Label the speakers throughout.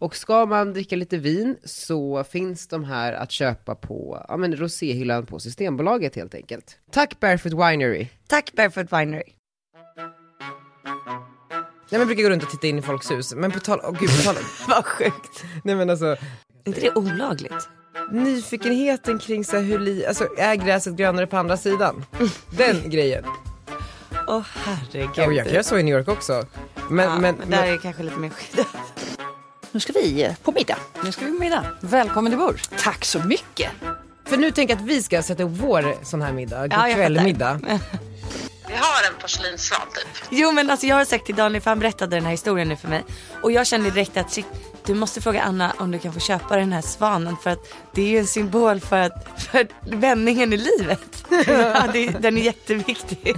Speaker 1: Och ska man dricka lite vin så finns de här att köpa på ja, men roséhyllan på Systembolaget helt enkelt. Tack Barefoot Winery!
Speaker 2: Tack Barefoot Winery.
Speaker 1: Nej men jag brukar gå runt och titta in i folks hus, men på tal om, gud på tal om,
Speaker 2: Vad sjukt.
Speaker 1: nej men alltså
Speaker 2: inte det olagligt?
Speaker 1: nyfikenheten kring så här, hur, li, alltså är gräset grönare på andra sidan? Den grejen.
Speaker 2: Åh herregud.
Speaker 1: Ja, och jag kan göra så i New York också. Men,
Speaker 2: Ja,
Speaker 1: men,
Speaker 2: men, där
Speaker 1: men
Speaker 2: är kanske lite mer skit.
Speaker 3: Nu ska vi eh, på middag. Nu ska vi på middag. Välkommen till bord. Tack så mycket.
Speaker 1: för nu tänker jag att vi ska sätta upp vår sån här middag,
Speaker 2: Ja, jag
Speaker 1: kvällmiddag.
Speaker 4: Vi har en porslinsvan typ.
Speaker 2: Jo men alltså jag har sagt till Daniel för han berättade den här historien nu för mig. Och jag kände direkt att shit, du måste fråga Anna om du kan få köpa den här svanen för att det är ju en symbol för, att, för vändningen i livet. ja, det, den är jätteviktig.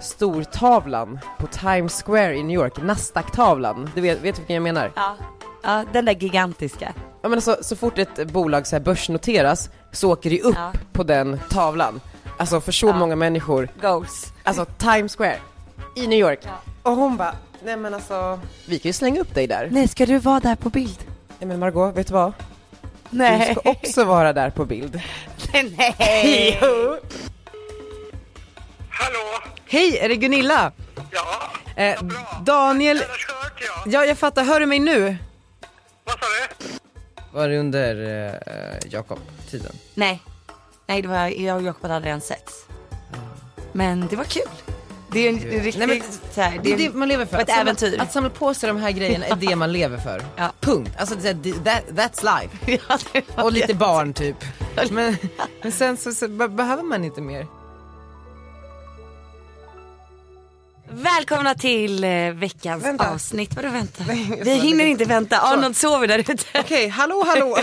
Speaker 1: Stortavlan på Times Square i New York, Nasdaq-tavlan. Du vet, vet vilken jag menar?
Speaker 2: Ja. ja, den där gigantiska.
Speaker 1: Ja, men alltså, så fort ett bolag så här börsnoteras så åker det upp
Speaker 2: Ja.
Speaker 1: på den tavlan. Alltså för så många människor.
Speaker 2: Goals.
Speaker 1: Alltså Times Square i New York. Och hon bara, nej men alltså, vi kan ju slänga upp dig där. Nej,
Speaker 2: Nej, ska du vara där på bild?
Speaker 1: men Margot, vet du vad? Du
Speaker 2: Nej.
Speaker 1: ska också vara där på bild.
Speaker 2: Nej.
Speaker 1: Jo.
Speaker 4: Hallå?
Speaker 1: Hej, är det Gunilla?
Speaker 4: Ja,
Speaker 1: Eh, Daniel,
Speaker 4: annars hört jag.
Speaker 1: ja jag fattar, hör du mig nu?
Speaker 4: Vad sa du?
Speaker 1: Var det under eh, Jakob-tiden?
Speaker 2: Nej. Nej, det var, jag och Jakob hade redan sett. Men det var kul. Det är en riktig...
Speaker 1: Nej, men-
Speaker 2: så här,
Speaker 1: Det är
Speaker 2: en-
Speaker 1: det man lever för.
Speaker 2: Ett
Speaker 1: Att samla-
Speaker 2: äventyr.
Speaker 1: Att samla på sig de här grejerna är det man lever för.
Speaker 2: Ja.
Speaker 1: Punkt. Alltså det, det- that, that's life.
Speaker 2: Ja, det var
Speaker 1: Och lite
Speaker 2: jätte-
Speaker 1: barn typ. Men, men sen så, så be- behöver man inte mer.
Speaker 2: Välkomna till eh, veckans
Speaker 1: Vänta.
Speaker 2: avsnitt. Vadå vänta?
Speaker 1: jag
Speaker 2: Vi
Speaker 1: sa
Speaker 2: hinner
Speaker 1: lite-
Speaker 2: inte vänta. Arnold sover där ute.
Speaker 1: Okej, hallå hallå.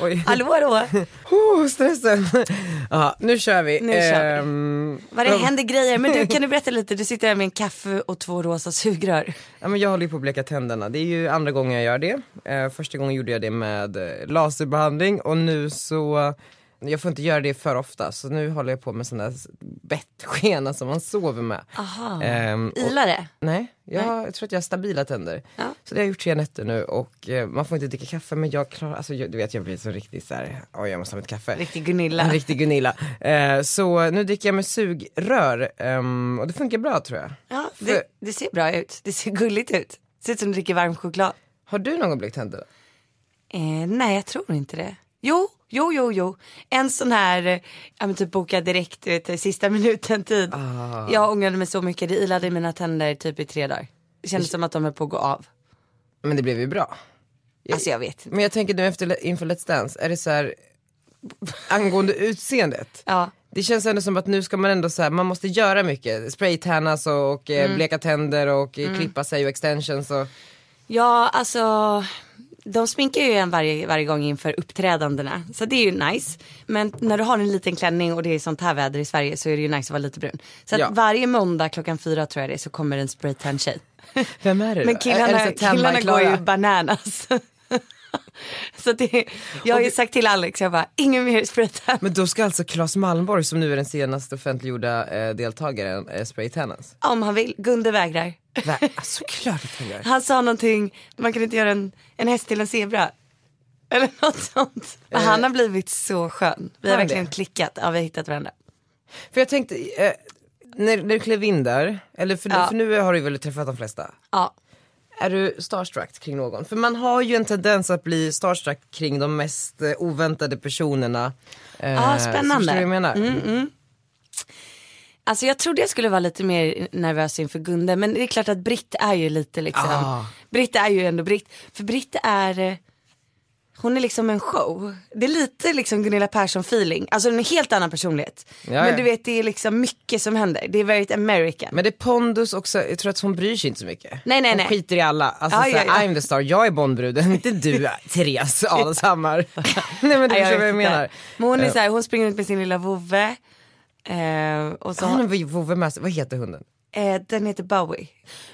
Speaker 1: Oj.
Speaker 2: Hallå hallå.
Speaker 1: Oh, stressen. Ja, nu kör vi.
Speaker 2: Nu kör vi.
Speaker 1: Ehm,
Speaker 2: Vad det händer grejer. Men du kan du berätta lite. Du sitter här med en kaffe och två rosa sugrör.
Speaker 1: Ja, men jag håller ju på att bleka tänderna. Det är ju andra gången jag gör det. Eh, första gången gjorde jag det med eh, laserbehandling och nu så, jag får inte göra det för ofta så nu håller jag på med sån där s- bettskena som man sover med.
Speaker 2: Aha.
Speaker 1: Ehm, och-
Speaker 2: Ilar det?
Speaker 1: Nej, jag, har- jag tror att jag har stabila tänder.
Speaker 2: Ja.
Speaker 1: Så det har jag gjort tre nätter nu och eh, man får inte dricka kaffe men jag klarar, alltså jag, du vet jag blir så riktigt såhär, oj jag måste ha mitt kaffe.
Speaker 2: Riktig
Speaker 1: En
Speaker 2: Gunilla.
Speaker 1: riktig Gunilla. Eh, så nu dricker jag med sugrör ehm, och det funkar bra tror jag.
Speaker 2: Ja, det, det ser bra ut. Det ser gulligt ut. Ser ut som du dricker varm choklad.
Speaker 1: Har du någon gång blekt tänderna?
Speaker 2: Eh, nej, jag tror inte det. Jo, jo, jo, jo. En sån här, eh, ja men typ boka direkt, du vet, sista minuten tid. Jag ångrade mig så mycket, det ilade i mina tänder typ i tre dagar. Det kändes som att de höll på att gå av.
Speaker 1: Men det blev ju bra.
Speaker 2: Alltså jag vet inte.
Speaker 1: Men jag tänker nu efter, inför Let's Dance, är det så här angående utseendet?
Speaker 2: Ja.
Speaker 1: Det känns ändå som att nu ska man ändå så här, man måste göra mycket. Spraytannas och, och eh, bleka tänder och eh, klippa sig och extensions och
Speaker 2: ja, alltså de sminkar ju en varje, varje gång inför uppträdandena. Så det är ju nice. Men när du har en liten klänning och det är sånt här väder i Sverige så är det ju nice att vara lite brun. Så att
Speaker 1: Ja.
Speaker 2: varje måndag klockan fyra tror jag det är så kommer en spraytan tjej.
Speaker 1: Vem är det
Speaker 2: Men
Speaker 1: då? Är det
Speaker 2: killarna,
Speaker 1: så här Tandberg,
Speaker 2: killarna går
Speaker 1: Klara?
Speaker 2: ju bananas. så det, jag har ju sagt till Alex, jag bara, ingen mer spraytan.
Speaker 1: Men då ska alltså Claes Malmborg som nu är den senaste offentliggjorda eh, deltagaren eh, spraytannas?
Speaker 2: Om han vill, Gunde vägrar.
Speaker 1: Va? Alltså klart att han gör.
Speaker 2: Han sa någonting, man kan inte göra en, en häst till en zebra. Eller något sånt. Men han har blivit så skön. Vi har
Speaker 1: Eh. han
Speaker 2: verkligen
Speaker 1: det?
Speaker 2: klickat, ja vi har hittat varandra.
Speaker 1: För jag tänkte, eh, när, när du klev in där, eller för, nu-
Speaker 2: Ja.
Speaker 1: för nu har du väl träffat de flesta?
Speaker 2: Ja.
Speaker 1: Är du starstruck kring någon? För man har ju en tendens att bli starstruck kring de mest eh, oväntade personerna. Eh,
Speaker 2: Ah,
Speaker 1: så
Speaker 2: spännande. Mm,
Speaker 1: Förstår du vad jag menar?
Speaker 2: Alltså jag trodde jag skulle vara lite mer nervös inför Gunde men det är klart att Britt är ju lite liksom,
Speaker 1: Ah.
Speaker 2: Britt är ju ändå Britt. För Britt är, eh, Hon är liksom en show. Det är lite liksom Gunilla Persson feeling. Alltså en helt annan personlighet.
Speaker 1: ja.
Speaker 2: Men du vet det är liksom mycket som händer. Det är väldigt American.
Speaker 1: Men det är pondus också, jag tror att hon bryr sig inte så mycket.
Speaker 2: Nej, nej,
Speaker 1: hon
Speaker 2: nej.
Speaker 1: skiter i alla, alltså
Speaker 2: Ja,
Speaker 1: såhär,
Speaker 2: ja, ja.
Speaker 1: I'm the star, jag är Bondbruden, inte du Therese Alshammar. nej men du
Speaker 2: Nej,
Speaker 1: förstår vad
Speaker 2: vet
Speaker 1: jag
Speaker 2: inte.
Speaker 1: menar.
Speaker 2: Men hon, är
Speaker 1: Ja.
Speaker 2: så här, hon springer runt med sin lilla vovve. Eh, och så
Speaker 1: Hon är vovve med sig. vad heter hunden?
Speaker 2: Eh, den heter Bowie.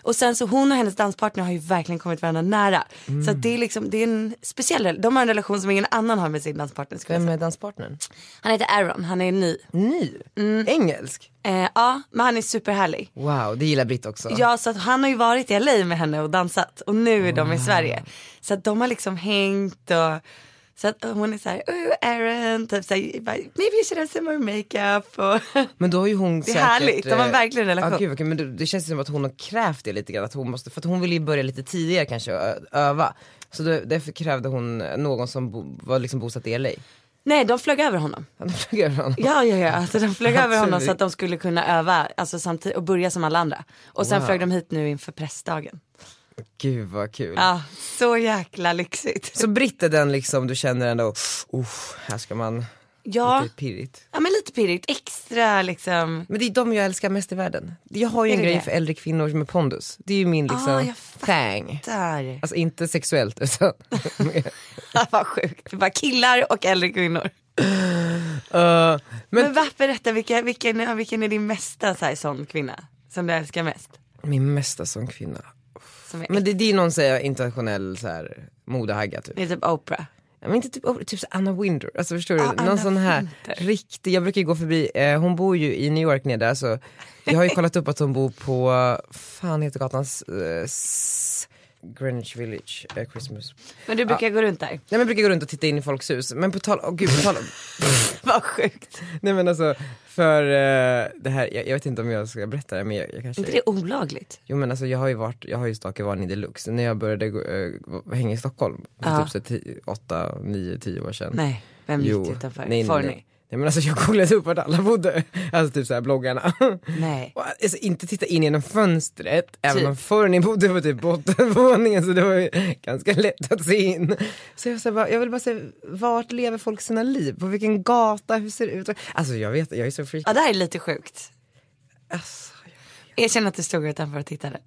Speaker 2: Och sen så hon och hennes danspartner har ju verkligen kommit varandra nära. Så att det är liksom, det är en speciell, rel- de har en relation som ingen annan har med sin danspartner skulle jag
Speaker 1: Vem
Speaker 2: säga.
Speaker 1: är danspartnern?
Speaker 2: Han heter Aaron, han är ny.
Speaker 1: Ny?
Speaker 2: Mm.
Speaker 1: Engelsk?
Speaker 2: Eh, ja, men han är superhärlig.
Speaker 1: Wow, det gillar Britt också.
Speaker 2: Ja, så att han har ju varit i LA med henne och dansat och nu är de i Sverige. Så att de har liksom hängt och så att hon är så här, oh Aaron, typ så här, bara, maybe you should have some more makeup och
Speaker 1: Men då har ju hon
Speaker 2: Det är
Speaker 1: säkert,
Speaker 2: härligt, de har
Speaker 1: eh,
Speaker 2: verkligen en relation.
Speaker 1: Ja, gud, vad kul. men det, det känns som att hon har krävt det lite grann, att hon måste, för att hon ville ju börja lite tidigare kanske och ö- öva. Så då, därför krävde hon någon som bo, var liksom bosatt i LA.
Speaker 2: Nej, de flög över honom.
Speaker 1: Ja, då flög jag över honom.
Speaker 2: Ja, ja, ja. Alltså, de flög över honom
Speaker 1: Absolut.
Speaker 2: så att de skulle kunna öva alltså, samtidigt, och börja som alla andra. Och sen
Speaker 1: Wow.
Speaker 2: flög de hit nu inför pressdagen.
Speaker 1: Gud vad kul.
Speaker 2: Ja, så jäkla lyxigt.
Speaker 1: Så Britt är den liksom du känner ändå, uff, här ska man,
Speaker 2: Ja,
Speaker 1: lite pirrigt.
Speaker 2: ja men lite pirrigt. Extra liksom.
Speaker 1: Men det är de jag älskar mest i världen. Jag har ju
Speaker 2: Är
Speaker 1: en
Speaker 2: det
Speaker 1: grej
Speaker 2: det?
Speaker 1: för äldre kvinnor med pondus. Det är ju min liksom
Speaker 2: Ah, jag
Speaker 1: thang.
Speaker 2: Där.
Speaker 1: Alltså inte sexuellt utan,
Speaker 2: Vad sjukt. Det var killar och äldre kvinnor.
Speaker 1: Eh, men
Speaker 2: Men varför berätta, vilken, vilken, vilken är din mesta så här, sån kvinna? Som du älskar mest?
Speaker 1: min mesta som kvinna.
Speaker 2: Som är,
Speaker 1: Men det, det är någon säger internationell så här, modehagga typ.
Speaker 2: det är typ Oprah.
Speaker 1: Ja, Men inte typ, oh, typ så Anna Winter, alltså förstår du?
Speaker 2: Ja, Ah, Anna
Speaker 1: någon sån här
Speaker 2: Wintour.
Speaker 1: riktig, jag brukar ju gå förbi, eh, hon bor ju i New York nere så jag har ju kollat upp att hon bor på, fan heter gatan, eh, S- Greenwich Village, eh, Christmas.
Speaker 2: Men du brukar gå runt där.
Speaker 1: Nej men jag brukar gå runt och titta in i folks hus, men på tal, åh gud på tal om,
Speaker 2: Vad sjukt.
Speaker 1: nej men alltså för eh, det här, jag, jag vet inte om jag ska berätta det men jag, jag kanske
Speaker 2: inte det olagligt?
Speaker 1: Jo men alltså jag har ju varit, jag har ju stalkervarning deluxe. När jag började gå, eh, hänga i Stockholm för
Speaker 2: Ja.
Speaker 1: typ så tio, åtta, nio, tio år sedan.
Speaker 2: Nej, vem gick det utanför?
Speaker 1: nej, nej,
Speaker 2: Forni?
Speaker 1: nej. nej men alltså jag googlade upp vart alla bodde. Alltså typ såhär bloggarna.
Speaker 2: nej.
Speaker 1: Och alltså, inte titta in genom fönstret, även
Speaker 2: Typ.
Speaker 1: om förr ni bodde på typ bottenvåningen så det var ju ganska lätt att se in. Så jag, så bara, jag vill bara se, vart lever folk sina liv? På vilken gata? Hur ser det ut? Alltså jag vet, jag är så freaky.
Speaker 2: Ja det här är lite sjukt.
Speaker 1: Alltså,
Speaker 2: Erkänn att du stod utanför och tittade.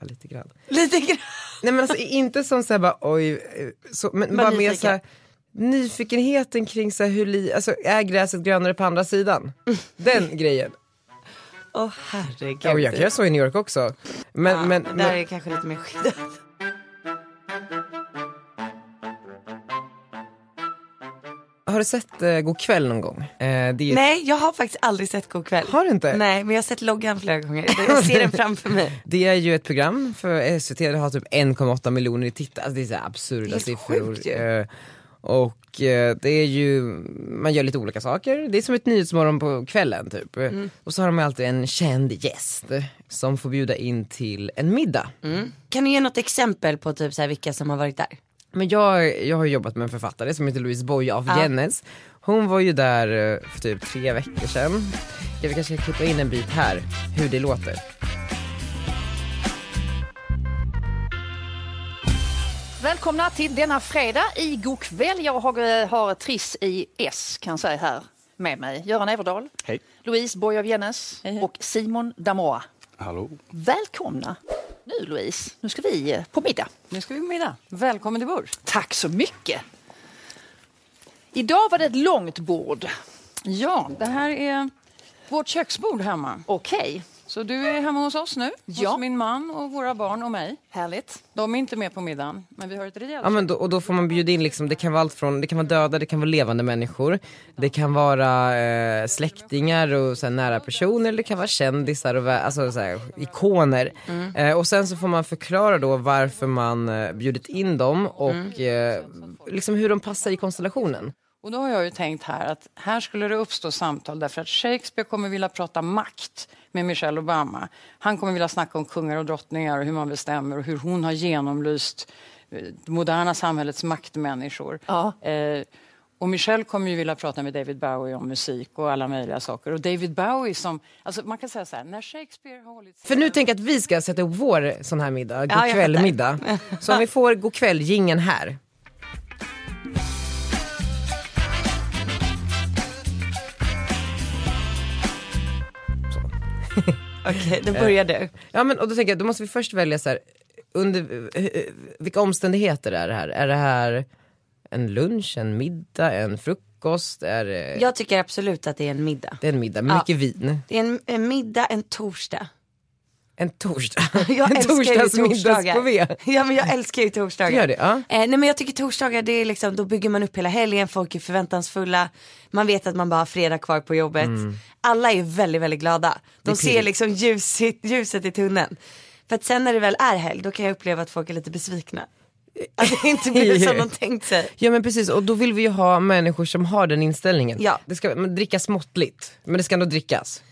Speaker 1: ja, lite grann.
Speaker 2: Lite grann.
Speaker 1: Nej men alltså inte som såhär bara oj, eh, så, men bara mer
Speaker 2: nyfiken.
Speaker 1: såhär nyfikenheten kring såhär hur li, alltså är gräset grönare på andra sidan? Den grejen.
Speaker 2: Åh
Speaker 1: Ja,
Speaker 2: herregud.
Speaker 1: jag kan göra så i New York också. Men,
Speaker 2: Ja,
Speaker 1: men,
Speaker 2: det där
Speaker 1: men
Speaker 2: är kanske lite mer skyddat.
Speaker 1: har du sett eh, God kväll någon gång? Eh, det är,
Speaker 2: Nej jag har faktiskt aldrig sett God kväll.
Speaker 1: Har du inte?
Speaker 2: Nej men jag har sett loggan flera gånger. Jag ser den framför mig.
Speaker 1: Det är ju ett program för SVT, det har typ 1,8 miljoner tittare, alltså det är så här absurda
Speaker 2: Det är helt
Speaker 1: siffror.
Speaker 2: sjukt ju.
Speaker 1: Eh, och eh, det är ju, man gör lite olika saker, det är som ett nyhetsmorgon på kvällen typ.
Speaker 2: Mm.
Speaker 1: Och så har de alltid en känd gäst som får bjuda in till en middag.
Speaker 2: Mm. Kan du ge något exempel på typ så här vilka som har varit där?
Speaker 1: Men jag, jag har jobbat med en författare som heter Louise Boye af Jennes. Hon var ju där eh, för typ tre veckor sedan. Jag vill kanske klippa in en bit här, hur det låter.
Speaker 3: Välkomna till denna fredag i God kväll. Jag har, eh, har Triss i S kan jag säga här med mig. Göran Everdahl,
Speaker 5: Hej.
Speaker 3: Louise Boye av Jennes och Simon Damoa.
Speaker 5: Hallå.
Speaker 3: Välkomna! Nu Louise, nu ska vi eh, på middag.
Speaker 6: Nu ska vi på middag. Välkommen till bord.
Speaker 3: Tack så mycket! Idag var det ett långt bord.
Speaker 6: Ja, det här är vårt köksbord hemma.
Speaker 3: Okej,
Speaker 6: Så du är hemma hos oss nu,
Speaker 3: Ja.
Speaker 6: hos min man och våra barn och mig.
Speaker 3: härligt.
Speaker 6: De är inte med på middagen, men vi har ett rejält
Speaker 1: Ja, men då, och då får man bjuda in, liksom, det kan vara allt från, det kan vara döda, det kan vara levande människor, det kan vara eh, släktingar och så här, nära personer, det kan vara kändisar och vä- alltså, så här, ikoner. Eh, och sen så får man förklara då varför man eh, bjudit in dem och eh, liksom hur de passar i konstellationen.
Speaker 6: Och då har jag ju tänkt här att här skulle det uppstå samtal därför att Shakespeare kommer vilja prata makt med Michelle Obama. Han kommer vilja snacka om kungar och drottningar och hur man bestämmer och hur hon har genomlyst eh, det moderna samhällets maktmänniskor.
Speaker 3: Ja.
Speaker 6: Eh, och Michelle kommer ju vilja prata med David Bowie om musik och alla möjliga saker. Och David Bowie som, alltså man kan säga så här, när Shakespeare har hållit...
Speaker 1: För nu tänker jag att vi ska sätta upp vår sån här middag, god
Speaker 2: Ja, jag
Speaker 1: kväll middag. Så om vi får god kväll gingen här.
Speaker 2: Okej, då börjar du.
Speaker 1: Ja men och då tänker jag, då måste vi först välja så här, under eh, eh, vilka omständigheter är det här? Är det här en lunch, en middag, en frukost? Är det,
Speaker 2: Jag tycker absolut att det är en middag.
Speaker 1: det är en middag med
Speaker 2: Ja.
Speaker 1: mycket vin.
Speaker 2: Det är en, en middag en torsdag.
Speaker 1: En torsdag.
Speaker 2: Jag
Speaker 1: en
Speaker 2: älskar ju torsdagar.
Speaker 1: torsdagsmiddags-kv.
Speaker 2: Ja men jag älskar ju
Speaker 1: Du
Speaker 2: torsdagar.
Speaker 1: gör det? Ja.
Speaker 2: Eh, nej men jag tycker torsdagar det är liksom, då bygger man upp hela helgen, folk är förväntansfulla. Man vet att man bara har fredag kvar på jobbet. Alla är väldigt, väldigt glada. De ser
Speaker 1: pirrigt.
Speaker 2: liksom ljuset, ljuset i tunneln. För att sen när det väl är helg, då kan jag uppleva att folk är lite besvikna. Att det inte blir som de tänkt sig.
Speaker 1: Ja men precis och då vill vi ju ha människor som har den inställningen.
Speaker 2: Ja.
Speaker 1: Det ska men drickas måttligt men det ska ändå drickas.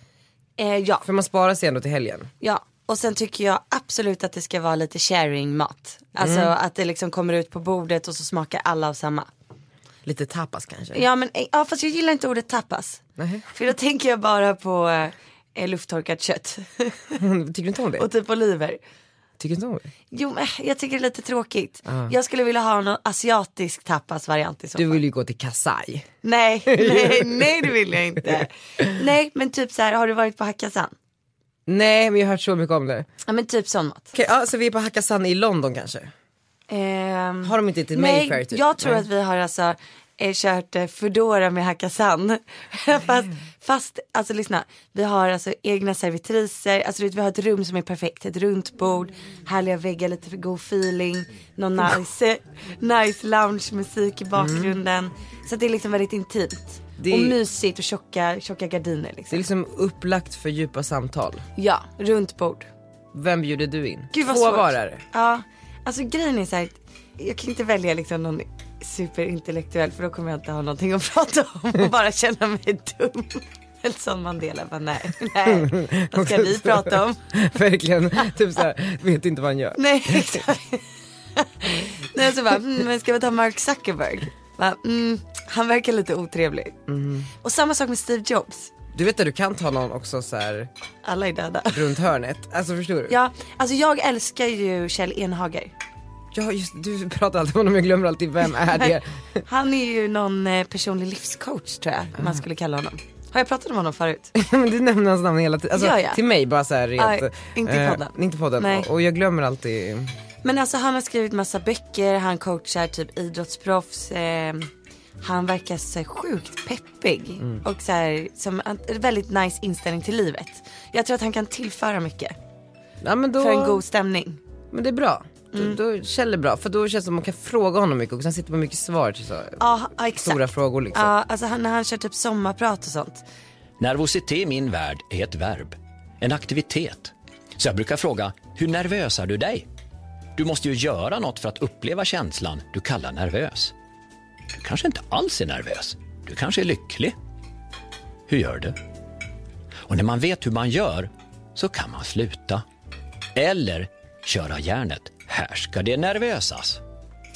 Speaker 2: Eh, ja,
Speaker 1: För man sparar sig ändå till helgen.
Speaker 2: ja. Och sen tycker jag absolut att det ska vara lite sharing-mat. Alltså att det liksom kommer ut på bordet och så smakar alla av samma.
Speaker 1: Lite tapas kanske.
Speaker 2: Ja men eh, ja, fast jag gillar inte ordet tapas.
Speaker 1: Nej.
Speaker 2: För då tänker jag bara på eh, lufttorkat kött.
Speaker 1: Tycker du inte om det?
Speaker 2: och typ oliver.
Speaker 1: Tycker du inte om det?
Speaker 2: Jo men eh, jag tycker det är lite tråkigt. Jag skulle vilja ha någon asiatisk tapasvariant i så fall.
Speaker 1: Du vill ju gå till Kasai.
Speaker 2: Nej, nej, nej det vill jag inte. nej men typ så här, har du varit på Hakkasan?
Speaker 1: Nej men jag har hört så mycket om det.
Speaker 2: Ja men typ sån mat.
Speaker 1: Okej, ja, så vi är på Hakkasan i London kanske?
Speaker 2: Ehm,
Speaker 1: Har de inte ett
Speaker 2: nej,
Speaker 1: Mayfair typ?
Speaker 2: jag tror
Speaker 1: Nej.
Speaker 2: att vi har alltså eh, kört eh, Foodora med Hakkasan. fast, fast, alltså lyssna, vi har alltså egna servitriser, alltså du vet, vi har ett rum som är perfekt, ett runt bord, härliga väggar, lite för god feeling, någon nice, nice lounge-musik i bakgrunden. Så att det är liksom väldigt intimt.
Speaker 1: Mm. Det-
Speaker 2: Och mysigt och tjocka, tjocka gardiner
Speaker 1: Det
Speaker 2: liksom.
Speaker 1: är liksom upplagt för djupa samtal.
Speaker 2: Ja, runt bord.
Speaker 1: Vem bjuder du in?
Speaker 2: Gud vad
Speaker 1: Två
Speaker 2: svårt.
Speaker 1: var är det.
Speaker 2: Ja, alltså grejen är så här, jag kan inte välja liksom någon superintellektuell för då kommer jag inte ha någonting att prata om och bara känna mig dum. Nelson Mandela bara nej, nej, vad ska vi prata om?
Speaker 1: Verkligen, typ såhär, vet inte vad han gör.
Speaker 2: Nej, exakt. Nej, så bara, mm, men ska vi ta Mark Zuckerberg? Bara, mm, han verkar lite otrevlig. Och samma sak med Steve Jobs,
Speaker 1: Du vet att du kan ta någon också såhär
Speaker 2: alla är döda.
Speaker 1: runt hörnet, alltså förstår du?
Speaker 2: Ja, alltså jag älskar ju Kjell Enhager.
Speaker 1: Ja, just du pratar alltid om honom, jag glömmer alltid vem är det?
Speaker 2: Han är ju någon eh, personlig livscoach tror jag
Speaker 1: Mm.
Speaker 2: man skulle kalla honom. Har jag pratat om honom förut?
Speaker 1: Men du nämner hans namn hela tiden, alltså,
Speaker 2: Gör jag?
Speaker 1: till mig bara såhär rent.
Speaker 2: Aj, inte i
Speaker 1: eh,
Speaker 2: podden.
Speaker 1: inte i podden.
Speaker 2: Nej.
Speaker 1: Och, och jag glömmer alltid.
Speaker 2: Men alltså han har skrivit massa böcker, han coachar typ idrottsproffs. Eh, han verkar så här sjukt peppig
Speaker 1: Mm.
Speaker 2: och så här, som en en väldigt nice inställning till livet. Jag tror att han kan tillföra mycket
Speaker 1: Ja, men, då,
Speaker 2: för en god Mm. stämning.
Speaker 1: men det är bra. Då, då Kjell är bra, för då känns det som man kan fråga honom mycket och sen sitter man mycket svar till så,
Speaker 2: Ja, ja, exakt.
Speaker 1: stora frågor liksom.
Speaker 2: Ja, alltså han, när han kör typ sommarprat och sånt.
Speaker 5: Nervositet i min värld är ett verb, en aktivitet. Så jag brukar fråga, hur nervös är du dig? Du måste ju göra något för att uppleva känslan du kallar nervös. Du kanske inte alls är nervös. Du kanske är lycklig. Hur gör du? Och när man vet hur man gör så kan man sluta. Eller köra järnet. Här ska det nervösas.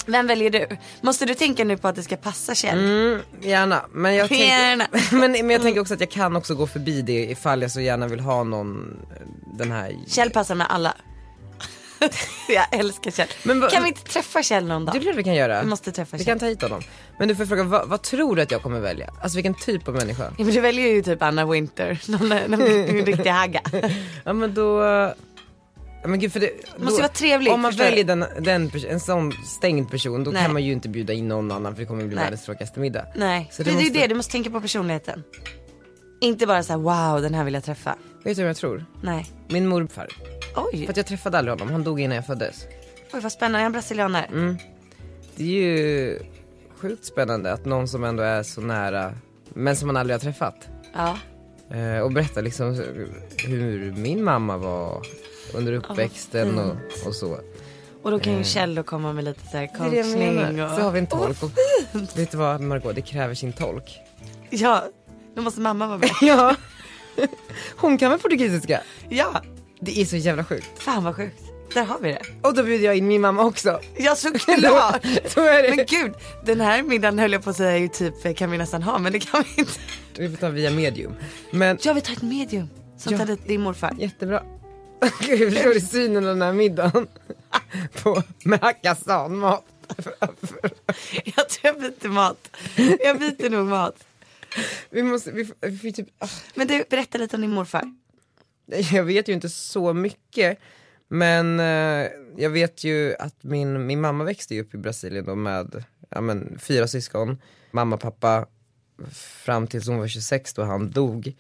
Speaker 2: Vem väljer du? Måste du tänka nu på att det ska passa Kjell?
Speaker 1: Mm, Gärna, men jag,
Speaker 2: Gärna.
Speaker 1: Tänker, men, men jag
Speaker 2: Mm.
Speaker 1: tänker också att jag kan också gå förbi det ifall jag så gärna vill ha någon eh, den här
Speaker 2: Kjell passar med alla. jag älskar Kjell.
Speaker 1: Men vad-
Speaker 2: kan vi inte träffa Kjell någon
Speaker 1: Det är
Speaker 2: dag?
Speaker 1: klart vi kan göra.
Speaker 2: Vi måste träffa
Speaker 1: Vi
Speaker 2: Kjell.
Speaker 1: kan ta hit honom. Men du får fråga, vad, vad tror du att jag kommer välja? Alltså vilken typ av människa?
Speaker 2: Ja, men du väljer ju typ Anna Winter, någon, någon, någon riktig hagga.
Speaker 1: Ja men då... Ja, men gud, för det, då,
Speaker 2: måste ju vara trevlig,
Speaker 1: Om man
Speaker 2: förstår du?
Speaker 1: väljer den, den, pers- en sån stängd person då
Speaker 2: Nej.
Speaker 1: kan man ju inte bjuda in någon annan för det kommer bli
Speaker 2: Nej.
Speaker 1: världens tråkigaste middag.
Speaker 2: Nej,
Speaker 1: Så
Speaker 2: det,
Speaker 1: det
Speaker 2: är ju
Speaker 1: måste-
Speaker 2: det, du måste tänka på personligheten. Inte bara så här, wow den här vill jag träffa.
Speaker 1: Vet du vem jag tror?
Speaker 2: Nej.
Speaker 1: Min morfar.
Speaker 2: Oj,
Speaker 1: För att jag träffade aldrig honom, han dog innan jag föddes.
Speaker 2: oj vad spännande, är han brasilianare?
Speaker 1: Det är ju sjukt spännande att någon som ändå är så nära men som man aldrig har träffat.
Speaker 2: Ja.
Speaker 1: Eh, och berätta liksom hur min mamma var under uppväxten och, och så.
Speaker 2: Och då kan ju Kjell då komma med lite så här
Speaker 1: Det är det jag
Speaker 2: coachning
Speaker 1: menar.
Speaker 2: och...
Speaker 1: Så har vi en tolk. Och, vet du vad Margot, det kräver sin tolk.
Speaker 2: Ja, då måste mamma vara med.
Speaker 1: Ja. Hon kan väl portugisiska?
Speaker 2: ja,
Speaker 1: Det är så jävla sjukt.
Speaker 2: fan vad sjukt. Där har vi det.
Speaker 1: Och då bjuder jag in min mamma också.
Speaker 2: Ja såklart.
Speaker 1: Så är det.
Speaker 2: Men gud, den här middagen höll jag på att säga ju typ kan vi nästan ha men det kan vi inte.
Speaker 1: Vi får ta via medium. Men
Speaker 2: Jag vill ta ett medium som
Speaker 1: Ja.
Speaker 2: tar dit din morfar.
Speaker 1: jättebra. Gud, förstår du synen av den här middagen? På, med hackasanmat.
Speaker 2: Jag tror jag byter mat. Jag byter nog mat.
Speaker 1: Vi måste, vi, får- vi får ju typ, ah,
Speaker 2: Men du, berätta lite om din morfar.
Speaker 1: Jag vet ju inte så mycket, men eh, jag vet ju att min, min mamma växte ju upp i Brasilien då med ja, men, fyra syskon, mamma, pappa, fram tills hon var 26 då han dog.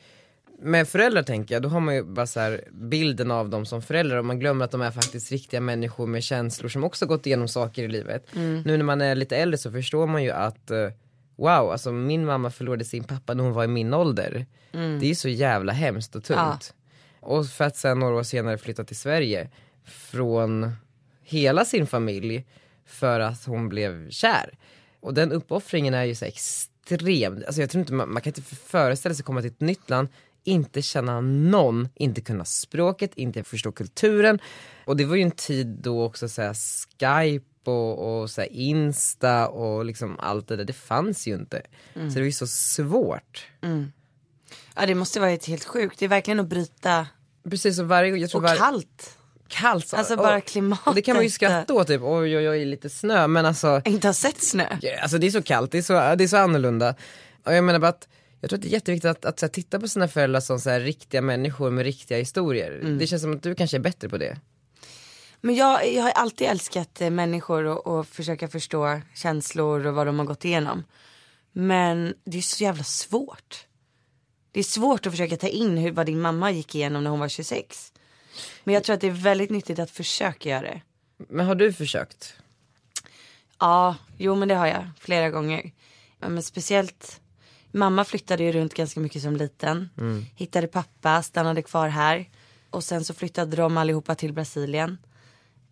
Speaker 1: Med föräldrar tänker jag, då har man ju bara så här bilden av dem som föräldrar och man glömmer att de är faktiskt riktiga människor med känslor som också gått igenom saker i livet. Nu när man är lite äldre så förstår man ju att eh, wow, alltså min mamma förlorade sin pappa när hon var i min ålder. Det är ju så jävla hemskt och tungt.
Speaker 2: Ja.
Speaker 1: Och för att sen några år senare flytta till Sverige från hela sin familj för att hon blev kär. Och den uppoffringen är ju så extrem. Alltså jag tror inte man, man kan inte föreställa sig att komma till ett nytt land, inte känna någon, inte kunna språket, inte förstå kulturen. Och det var ju en tid då också så här Skype och, och så här Insta och liksom allt det där, det fanns ju inte. Så det var ju så svårt.
Speaker 2: Ja det måste vara ett helt sjukt. Det är verkligen att bryta.
Speaker 1: Precis som varje gång, jag tror
Speaker 2: Och
Speaker 1: var-
Speaker 2: kallt.
Speaker 1: kallt. så-
Speaker 2: Alltså bara
Speaker 1: och-
Speaker 2: klimatet.
Speaker 1: Och det kan man ju skratta åt typ, oj oj oj lite snö men alltså,
Speaker 2: Inte har sett snö.
Speaker 1: alltså det är så kallt, det är så, det är så annorlunda. Och jag menar bara att jag tror att det är jätteviktigt att, att så här, titta på sina föräldrar som så här, riktiga människor med riktiga historier.
Speaker 2: Mm.
Speaker 1: Det känns som att du kanske är bättre på det.
Speaker 2: Men jag, jag har alltid älskat eh, människor och, och försöka förstå känslor och vad de har gått igenom. Men det är så jävla svårt. Det är svårt att försöka ta in hur, vad din mamma gick igenom när hon var 26. Men jag tror att det är väldigt nyttigt att försöka göra det.
Speaker 1: Men har du försökt?
Speaker 2: Ja, jo men det har jag flera gånger. Ja, men speciellt, mamma flyttade ju runt ganska mycket som liten. Hittade pappa, stannade kvar här. Och sen så flyttade de allihopa till Brasilien.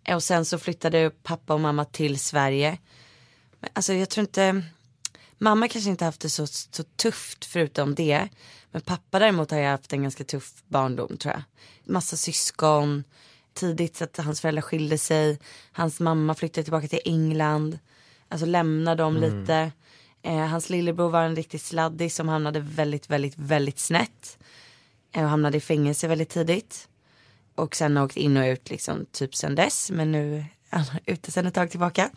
Speaker 2: Eh, Och sen så flyttade pappa och mamma till Sverige. Men alltså jag tror inte, mamma kanske inte haft det så, så tufft förutom det. Men pappa däremot har jag haft en ganska tuff barndom tror jag. Massa syskon, tidigt så att hans föräldrar skilde sig. Hans mamma flyttade tillbaka till England. Alltså lämnade dem lite. Eh, hans lillebror var en riktig sladdis som hamnade väldigt, väldigt, väldigt snett. Eh, och hamnade i fängelse väldigt tidigt. Och sen har åkt in och ut liksom typ sen dess. Men nu är han ute sen ett tag tillbaka.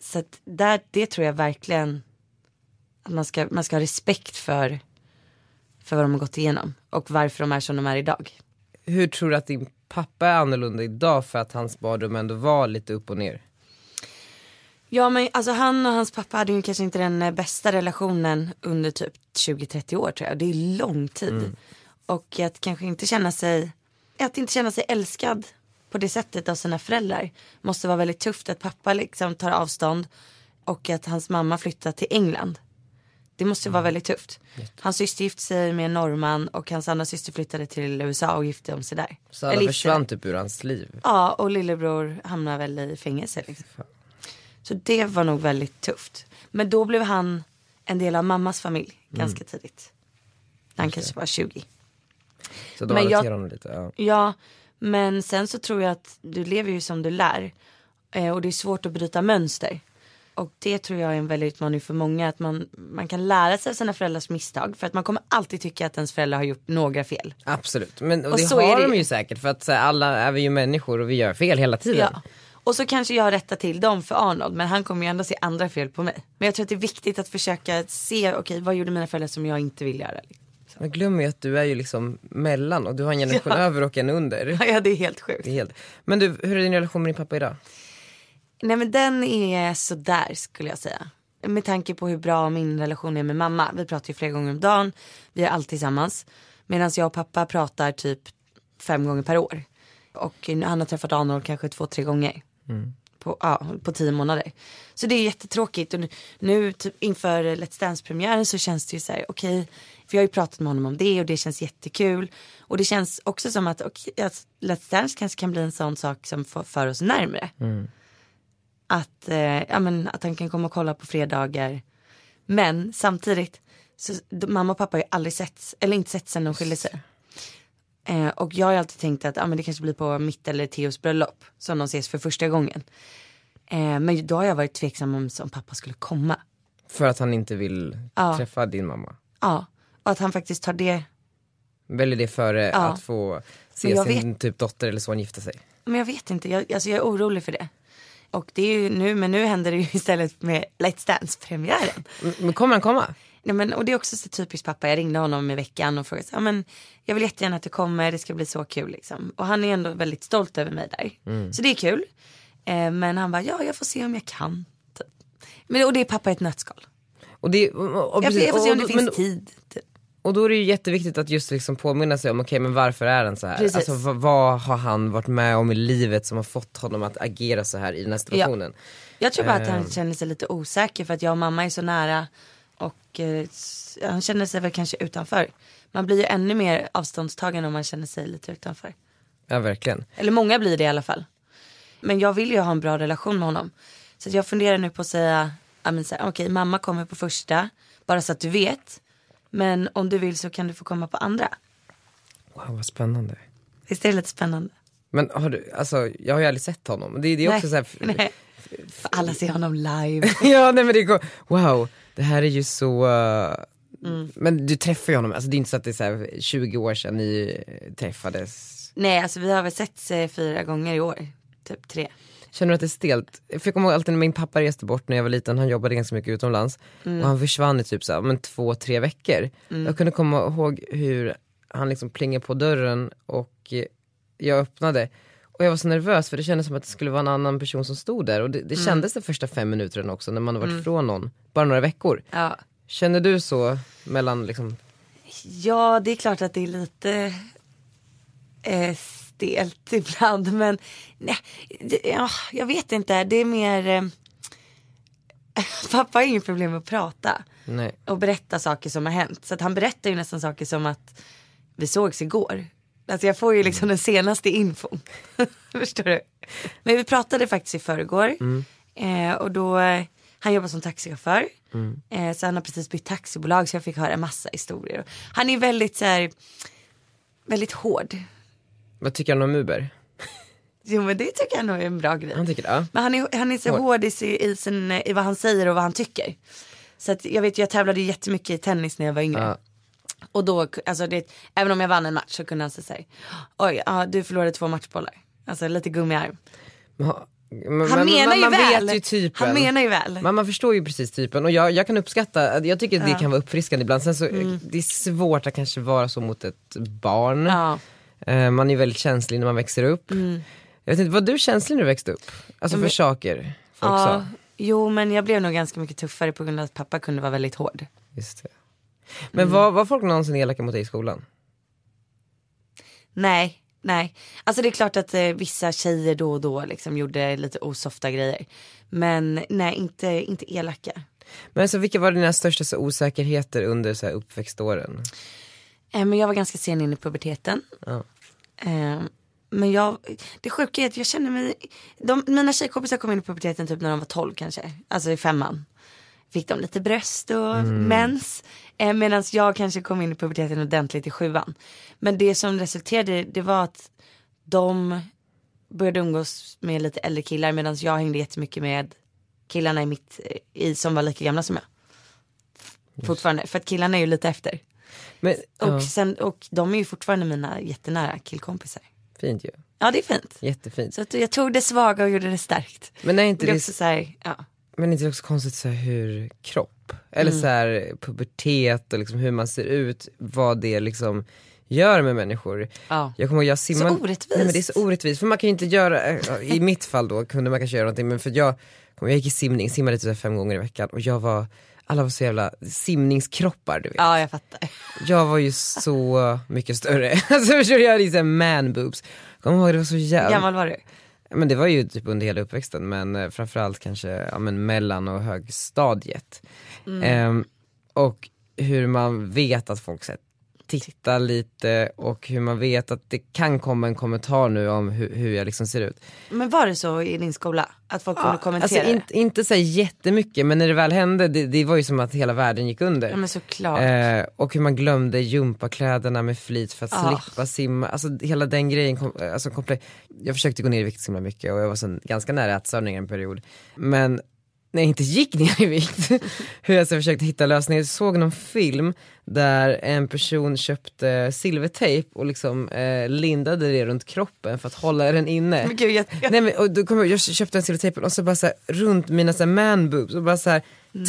Speaker 2: Så att där, det tror jag verkligen att man ska, man ska ha respekt för, för vad de har gått igenom. Och varför de är som de är idag.
Speaker 1: Hur tror du att din pappa är annorlunda idag för att hans barndom ändå var lite upp och ner?
Speaker 2: Ja men alltså han och hans pappa hade ju kanske inte den eh, bästa relationen under typ 20-30 år tror jag. Det är lång tid.
Speaker 1: Mm.
Speaker 2: Och att kanske inte känna sig, att inte känna sig älskad på det sättet av sina föräldrar. Måste vara väldigt tufft att pappa liksom tar avstånd och att hans mamma flyttar till England. Det måste
Speaker 1: Mm.
Speaker 2: vara väldigt tufft. Hans syster gifte sig med en norrman och hans andra syster flyttade till USA och gifte om sig där.
Speaker 1: Så alla
Speaker 2: Eller gifte sig där.
Speaker 1: försvann typ ur hans liv.
Speaker 2: Ja, och lillebror hamnar väl i fängelse. Liksom. Så det var nog väldigt tufft. Men då blev han en del av mammas familj ganska tidigt. Han kanske var 20.
Speaker 1: Så de
Speaker 2: Men jag-
Speaker 1: adopterade honom lite. Ja.
Speaker 2: Ja, men sen så tror jag att du lever ju som du lär. Eh, och det är svårt att bryta mönster. Och det tror jag är en väldig utmaning för många. Att man, man kan lära sig av sina föräldrars misstag. För att man kommer alltid tycka att ens föräldrar har gjort några fel.
Speaker 1: Absolut, men och
Speaker 2: Och
Speaker 1: det
Speaker 2: så är
Speaker 1: har
Speaker 2: det
Speaker 1: de
Speaker 2: ju.
Speaker 1: ju säkert för att så här, alla är vi ju människor och vi gör fel hela tiden.
Speaker 2: Ja. Och så kanske jag rättar till dem för Arnold men han kommer ju ändå se andra fel på mig. Men jag tror att det är viktigt att försöka se, okej vad gjorde mina föräldrar som jag inte vill göra?
Speaker 1: Man glömmer ju att du är ju liksom mellan och du har en generation över och en under.
Speaker 2: Ja det är helt sjukt.
Speaker 1: Det är helt... Men du, hur är din relation med din pappa idag?
Speaker 2: Nej men den är sådär skulle jag säga. Med tanke på hur bra min relation är med mamma. Vi pratar ju flera gånger om dagen. Vi är alltid tillsammans. Medan jag och pappa pratar typ fem gånger per år. Och han har träffat Arnold kanske två, tre gånger. På, ja, på tio månader. Så det är jättetråkigt. Och nu, nu typ inför Let's Dance-premiären så känns det ju så här, okej. för jag har ju pratat med honom om det och det känns jättekul. Och det känns också som att okej, att Let's Dance kanske kan bli en sån sak som för, för oss närmre att, eh, ja, men, att han kan komma och kolla på fredagar. Men samtidigt, så, d- mamma och pappa har ju aldrig sett, eller inte sett sen de skilde sig. Eh, och jag har ju alltid tänkt att ja, men det kanske blir på mitt eller Theos bröllop som de ses för första gången. Eh, men då har jag varit tveksam om, om pappa skulle komma.
Speaker 1: För att han inte vill
Speaker 2: Ja.
Speaker 1: träffa din mamma.
Speaker 2: Ja, och att han faktiskt tar det
Speaker 1: Väljer det före att få se
Speaker 2: jag
Speaker 1: sin typ dotter eller son gifta sig.
Speaker 2: Men jag vet inte, jag, alltså jag är orolig för det. Och det är ju nu, men nu händer det ju istället med Let's Dance-premiären.
Speaker 1: Men kommer han komma?
Speaker 2: Nej, men, och det är också så typiskt pappa. Jag ringde honom i veckan och frågade så, ja, men, jag vill jättegärna att du kommer, det ska bli så kul liksom. Och han är ändå väldigt stolt över mig där.
Speaker 1: Mm.
Speaker 2: Så det är kul. Eh, men han bara, ja jag får se om jag kan. Typ. Men, och det är pappa i ett nötskal.
Speaker 1: Och, det, och, och,
Speaker 2: Jag, får-
Speaker 1: precis,
Speaker 2: jag får se
Speaker 1: och-
Speaker 2: om det
Speaker 1: och-
Speaker 2: finns
Speaker 1: men-
Speaker 2: tid. Typ.
Speaker 1: Och då är det ju jätteviktigt att just liksom påminna sig om, okej men varför är den så här?
Speaker 2: Precis.
Speaker 1: Alltså vad, vad har han varit med om i livet som har fått honom att agera så här i den här situationen?
Speaker 2: Jag tror bara att
Speaker 1: Eh.
Speaker 2: han känner sig lite osäker för att jag och mamma är så nära. Och eh, s- han känner sig väl kanske utanför. Man blir ju ännu mer avståndstagande om man känner sig lite utanför.
Speaker 1: Ja, verkligen.
Speaker 2: Eller många blir det i alla fall. Men jag vill ju ha en bra relation med honom. Så att jag funderar nu på att säga, ja, men så här, okej mamma kommer på första, bara så att du vet. Men om du vill så kan du få komma på andra.
Speaker 1: Wow vad spännande.
Speaker 2: Visst är det lite spännande?
Speaker 1: Men har du, alltså jag har ju aldrig sett honom. Det, det är också
Speaker 2: nej,
Speaker 1: så här,
Speaker 2: nej. För alla ser honom live.
Speaker 1: Ja nej men det går, wow det här är ju så eh,
Speaker 2: Mm.
Speaker 1: Men du träffar ju honom, alltså det är inte så att det är så här 20 år sedan ni eh, träffades
Speaker 2: nej, alltså vi har väl sett eh, fyra gånger i år. Typ tre.
Speaker 1: Känner du att det är stelt? För jag kommer ihåg alltid när min pappa reste bort när jag var liten, han jobbade ganska mycket utomlands och han försvann i typ så här, men två, tre veckor.
Speaker 2: Mm.
Speaker 1: Jag kunde komma ihåg hur han liksom plingade på dörren och eh, jag öppnade och jag var så nervös för det kändes som att det skulle vara en annan person som stod där och det,
Speaker 2: Mm.
Speaker 1: det kändes de första fem minuterna också när man har varit ifrån någon, bara några veckor.
Speaker 2: Ja.
Speaker 1: Känner du så mellan liksom,
Speaker 2: Ja, det är klart att det är lite eh, stelt ibland. Men nej, det, ja, jag vet inte. Det är mer... Eh, pappa har inget problem med att prata
Speaker 1: nej.
Speaker 2: och berätta saker som har hänt. Så att han berättar ju nästan saker som att vi sågs igår. Alltså jag får ju liksom den senaste infon. Förstår du? Men vi pratade faktiskt i förrgår. Eh, och då, eh, han jobbar som taxichaufför. Eh, så han har precis bytt taxibolag så jag fick höra en massa historier. Han är väldigt så här, väldigt hård.
Speaker 1: Vad tycker han om Uber?
Speaker 2: Jo men det tycker jag nog är en bra grej.
Speaker 1: Han tycker det? ja.
Speaker 2: Men han är, han är så hård i, sin- i, sin, i vad han säger och vad han tycker. Så att jag vet, jag tävlade ju jättemycket i tennis när jag var yngre.
Speaker 1: Ja.
Speaker 2: Och då, alltså det, även om jag vann en match så kunde han säga såhär, oj, ja, du förlorade två matchbollar. Alltså lite gummiarm.
Speaker 1: Men ha- men-
Speaker 2: Han
Speaker 1: men-
Speaker 2: menar
Speaker 1: man,
Speaker 2: ju
Speaker 1: man
Speaker 2: väl.
Speaker 1: Vet ju typ typen.
Speaker 2: Han menar ju väl.
Speaker 1: Men man förstår ju precis typen och jag, jag kan uppskatta, jag tycker det kan vara uppfriskande ibland. Sen så, det är svårt att kanske vara så mot ett barn.
Speaker 2: Mm. Ja. Mm.
Speaker 1: Eh, man är väldigt känslig när man växer upp. Jag vet inte, var du känslig när du växte upp? Alltså för saker folk sa.
Speaker 2: ja. Jo men jag blev nog ganska mycket tuffare på grund av att pappa kunde vara väldigt hård.
Speaker 1: Just det. Men
Speaker 2: Mm.
Speaker 1: var, var folk någonsin elaka mot dig i skolan?
Speaker 2: Nej, nej. Alltså det är klart att eh, vissa tjejer då och då liksom gjorde lite osofta grejer. Men nej, inte, inte elaka.
Speaker 1: Men alltså, vilka var dina största så, osäkerheter under så här, uppväxtåren?
Speaker 2: Eh, Men jag var ganska sen in i puberteten.
Speaker 1: Ja.
Speaker 2: Eh, Men jag, det sjuka är att jag känner mig, de, mina tjejkompisar kom in i puberteten typ när de var 12 kanske, alltså i femman. Fick de lite bröst och mens. Eh, Medan jag kanske kom in i puberteten ordentligt i sjuan. Men det som resulterade det var att de började umgås med lite äldre killar medan jag hängde jättemycket med killarna i mitt, i, som var lika gamla som jag. Fortfarande, för att killarna är ju lite efter.
Speaker 1: Men,
Speaker 2: Och,
Speaker 1: ja,
Speaker 2: sen, och de är ju fortfarande mina jättenära killkompisar.
Speaker 1: fint ju,
Speaker 2: Ja det är fint.
Speaker 1: jättefint.
Speaker 2: Så att jag tog det svaga och gjorde det starkt.
Speaker 1: Men är inte
Speaker 2: det är
Speaker 1: det
Speaker 2: också så här, ja.
Speaker 1: Men inte också konstigt så här, hur kropp, eller
Speaker 2: Mm.
Speaker 1: så här, pubertet och liksom hur man ser ut, vad det liksom gör med människor.
Speaker 2: Ja.
Speaker 1: Jag kommer ihåg, jag simmade...
Speaker 2: orättvist.
Speaker 1: Nej, men det är så orättvist. För man kan ju inte göra, eh, ja, i mitt fall då kunde man kanske göra någonting men för att jag, jag gick i simning, simmade typ så här fem gånger i veckan och jag var, alla var så jävla simningskroppar du vet.
Speaker 2: ja jag fattar.
Speaker 1: Jag var ju så mycket större. Alltså förstår du, jag hade ju så här man boobs. Jag kommer ihåg det var så
Speaker 2: Hur
Speaker 1: jävla
Speaker 2: gammal var du?
Speaker 1: men det var ju typ under hela uppväxten men eh, framförallt kanske ja, men mellan och högstadiet.
Speaker 2: Mm.
Speaker 1: Ehm, och hur man vet att folk så här, tittar lite och hur man vet att det kan komma en kommentar nu om hur, hur jag liksom ser ut.
Speaker 2: Men var det så i din skola? Att folk kunde kommentera?
Speaker 1: Alltså
Speaker 2: Alltså,
Speaker 1: inte, inte så här jättemycket men när det väl hände det, det var ju som att hela världen gick under.
Speaker 2: Ja men såklart.
Speaker 1: Eh, och hur man glömde gympakläderna med flit för att
Speaker 2: Ah.
Speaker 1: slippa simma. Alltså hela den grejen. Kom, eh, alltså, komple- jag försökte gå ner i vikt så himla mycket och jag var så ganska nära ätstörningar en period. Men nej inte gick ner i vikt, hur jag så försökte hitta lösningar. Jag såg någon film där en person köpte silvertejp och liksom eh, lindade det runt kroppen för att hålla den inne.
Speaker 2: Men gud, jag- jag-
Speaker 1: Nej, men, och då kom jag, jag köpte en silvertejp och så bara så här, runt mina så här, man boobs och bara så här,